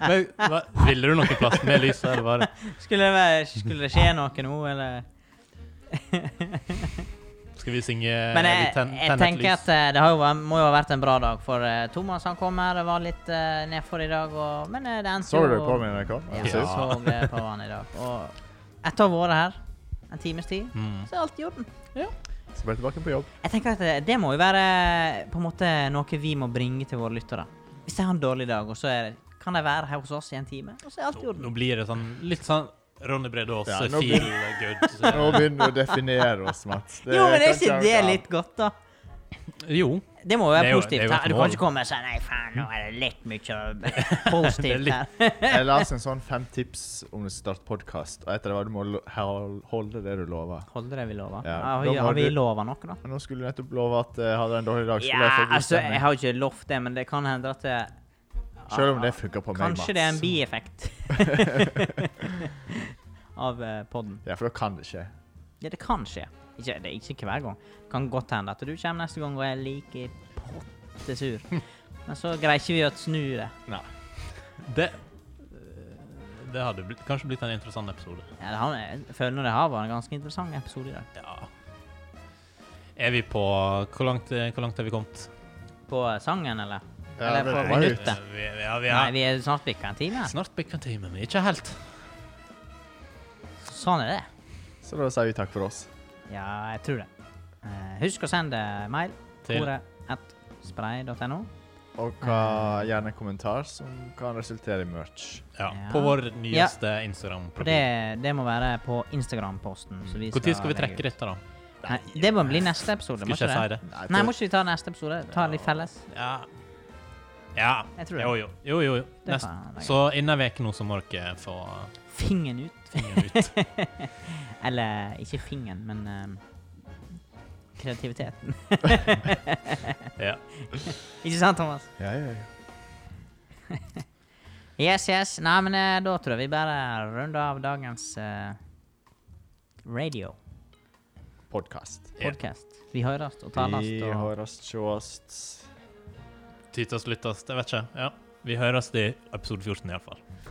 S2: men, hva, Ville du noen plass med lyset, eller var det
S3: skulle, det være, skulle det skje noe nå, eller?
S2: Eh, Skal vi synge
S3: Men jeg,
S2: vi ten-
S3: jeg
S2: tenner et
S3: tenker
S2: lys?
S3: at eh, det har jo, vært- må jo ha vært en bra dag, for eh, Thomas han kom her og var litt eh, nedfor i dag, og, men eh, det endte
S1: Så du
S3: jo
S1: på meg når jeg kom?
S3: Ja,
S1: Jeg
S3: jeg
S1: synes.
S3: så det på han i dag. Og etter å ha vært her en times tid,
S2: Mm.
S3: så er alt i orden.
S1: Så ble jeg tilbake på jobb.
S3: Jeg tenker at det, det må jo være eh, på en måte noe vi må bringe til våre lyttere. Hvis de har en dårlig dag, og så er, kan de være her hos oss i en time, og så er alt i
S2: Nå, nå
S3: orden.
S2: blir det sånn litt sånn Ronny Brede Aase,
S1: Ja, nå blir-
S2: feel good.
S1: Nå begynner vi å definere oss, Mats. Det
S3: Jo, men er
S1: kan
S3: ikke
S1: jeg-
S3: det litt godt, da?
S2: Jo.
S3: Det må
S2: Det er jo-
S3: jo være
S2: det er
S3: positivt.
S2: jo et
S3: her. Du
S2: mål.
S3: kan ikke komme og si 'nei, faen, nå er det litt mye
S2: Det er
S3: positivt
S2: litt-
S3: her'.
S1: Jeg leste en sånn fem tips om å starte podkast, og etter det var du må lo- hel- holde det du lover.
S3: Holder det vi lover?
S1: Ja,
S3: Ja,
S1: da
S3: vi-
S1: må
S3: har vi
S1: du-
S3: lova noe, da?
S1: Men nå skulle du nettopp love at jeg hadde en dårlig dag. skulle jeg få
S3: Ja,
S1: god
S3: altså,
S1: stemning.
S3: jeg har jo ikke lovt det, men det kan hende at det
S1: Selv om det funker på meg, Mats.
S3: Kanskje det er en bieffekt av eh, podden.
S1: Ja, for da kan det skje.
S3: Ja, det kan skje. Ikke, det er ikke hver gang. Det kan godt hende at du kommer neste gang og er like pottesur. Men så greier ikke vi å snu det.
S2: Det Det hadde blitt, kanskje blitt en interessant episode.
S3: Ja, det har, jeg føler nå det har vært en ganske interessant episode i dag.
S2: Ja. Er vi på Hvor langt, hvor langt har vi kommet?
S3: På sangen, eller?
S1: Ja,
S3: Eller
S1: det
S3: på
S1: var jo-
S3: minuttet?
S2: Eh, Vi, ja, vi
S3: Nei,
S2: er
S3: vi er snart bikka en time.
S2: snart bikka time, men ikke helt.
S3: Sånn er det.
S1: Så da sier vi takk for oss.
S3: Ja, jeg tror det. Eh, husk å sende mail.
S2: Til
S3: Koret.spray.no.
S1: Og
S3: Eh.
S1: hva, gjerne en kommentar som kan resultere i merch.
S2: ja,
S3: Ja.
S2: på vår nyeste Instagram-profil.
S3: Det, det må være på Instagram-posten. så vi
S2: Når skal vi
S3: legge
S2: trekke
S3: ut.
S2: dette, da?
S3: Nei, det må bli neste episode.
S2: Skulle
S3: Må
S2: ikke
S3: ikke
S2: jeg si
S3: det?
S2: det?
S1: Nei,
S3: Nei, må ikke vi ta neste episode? Ta litt felles?
S2: Ja. ja.
S3: Jeg tror det.
S2: Jo, jo. jo, jo, jo.
S3: Det
S2: Nest.
S3: kan jeg legge.
S2: Så innen en uke nå så må dere få
S3: Fingeren ut.
S2: fingeren ut.
S3: Eller ikke fingeren, men ehm, kreativiteten.
S2: Ja.
S3: Ikke sant, Thomas?
S1: Ja, ja, ja.
S3: Yes, yes. Nei, men eh, da tror jeg vi bare runder av dagens eh, radio.
S1: Podkast.
S2: Ja.
S3: Podcast. Vi høres og tales.
S1: Vi
S3: og-
S1: høres, sjåast.
S2: Tytast, lyttast, jeg vet ikke. Ja. Vi høres i episode 14 iallfall.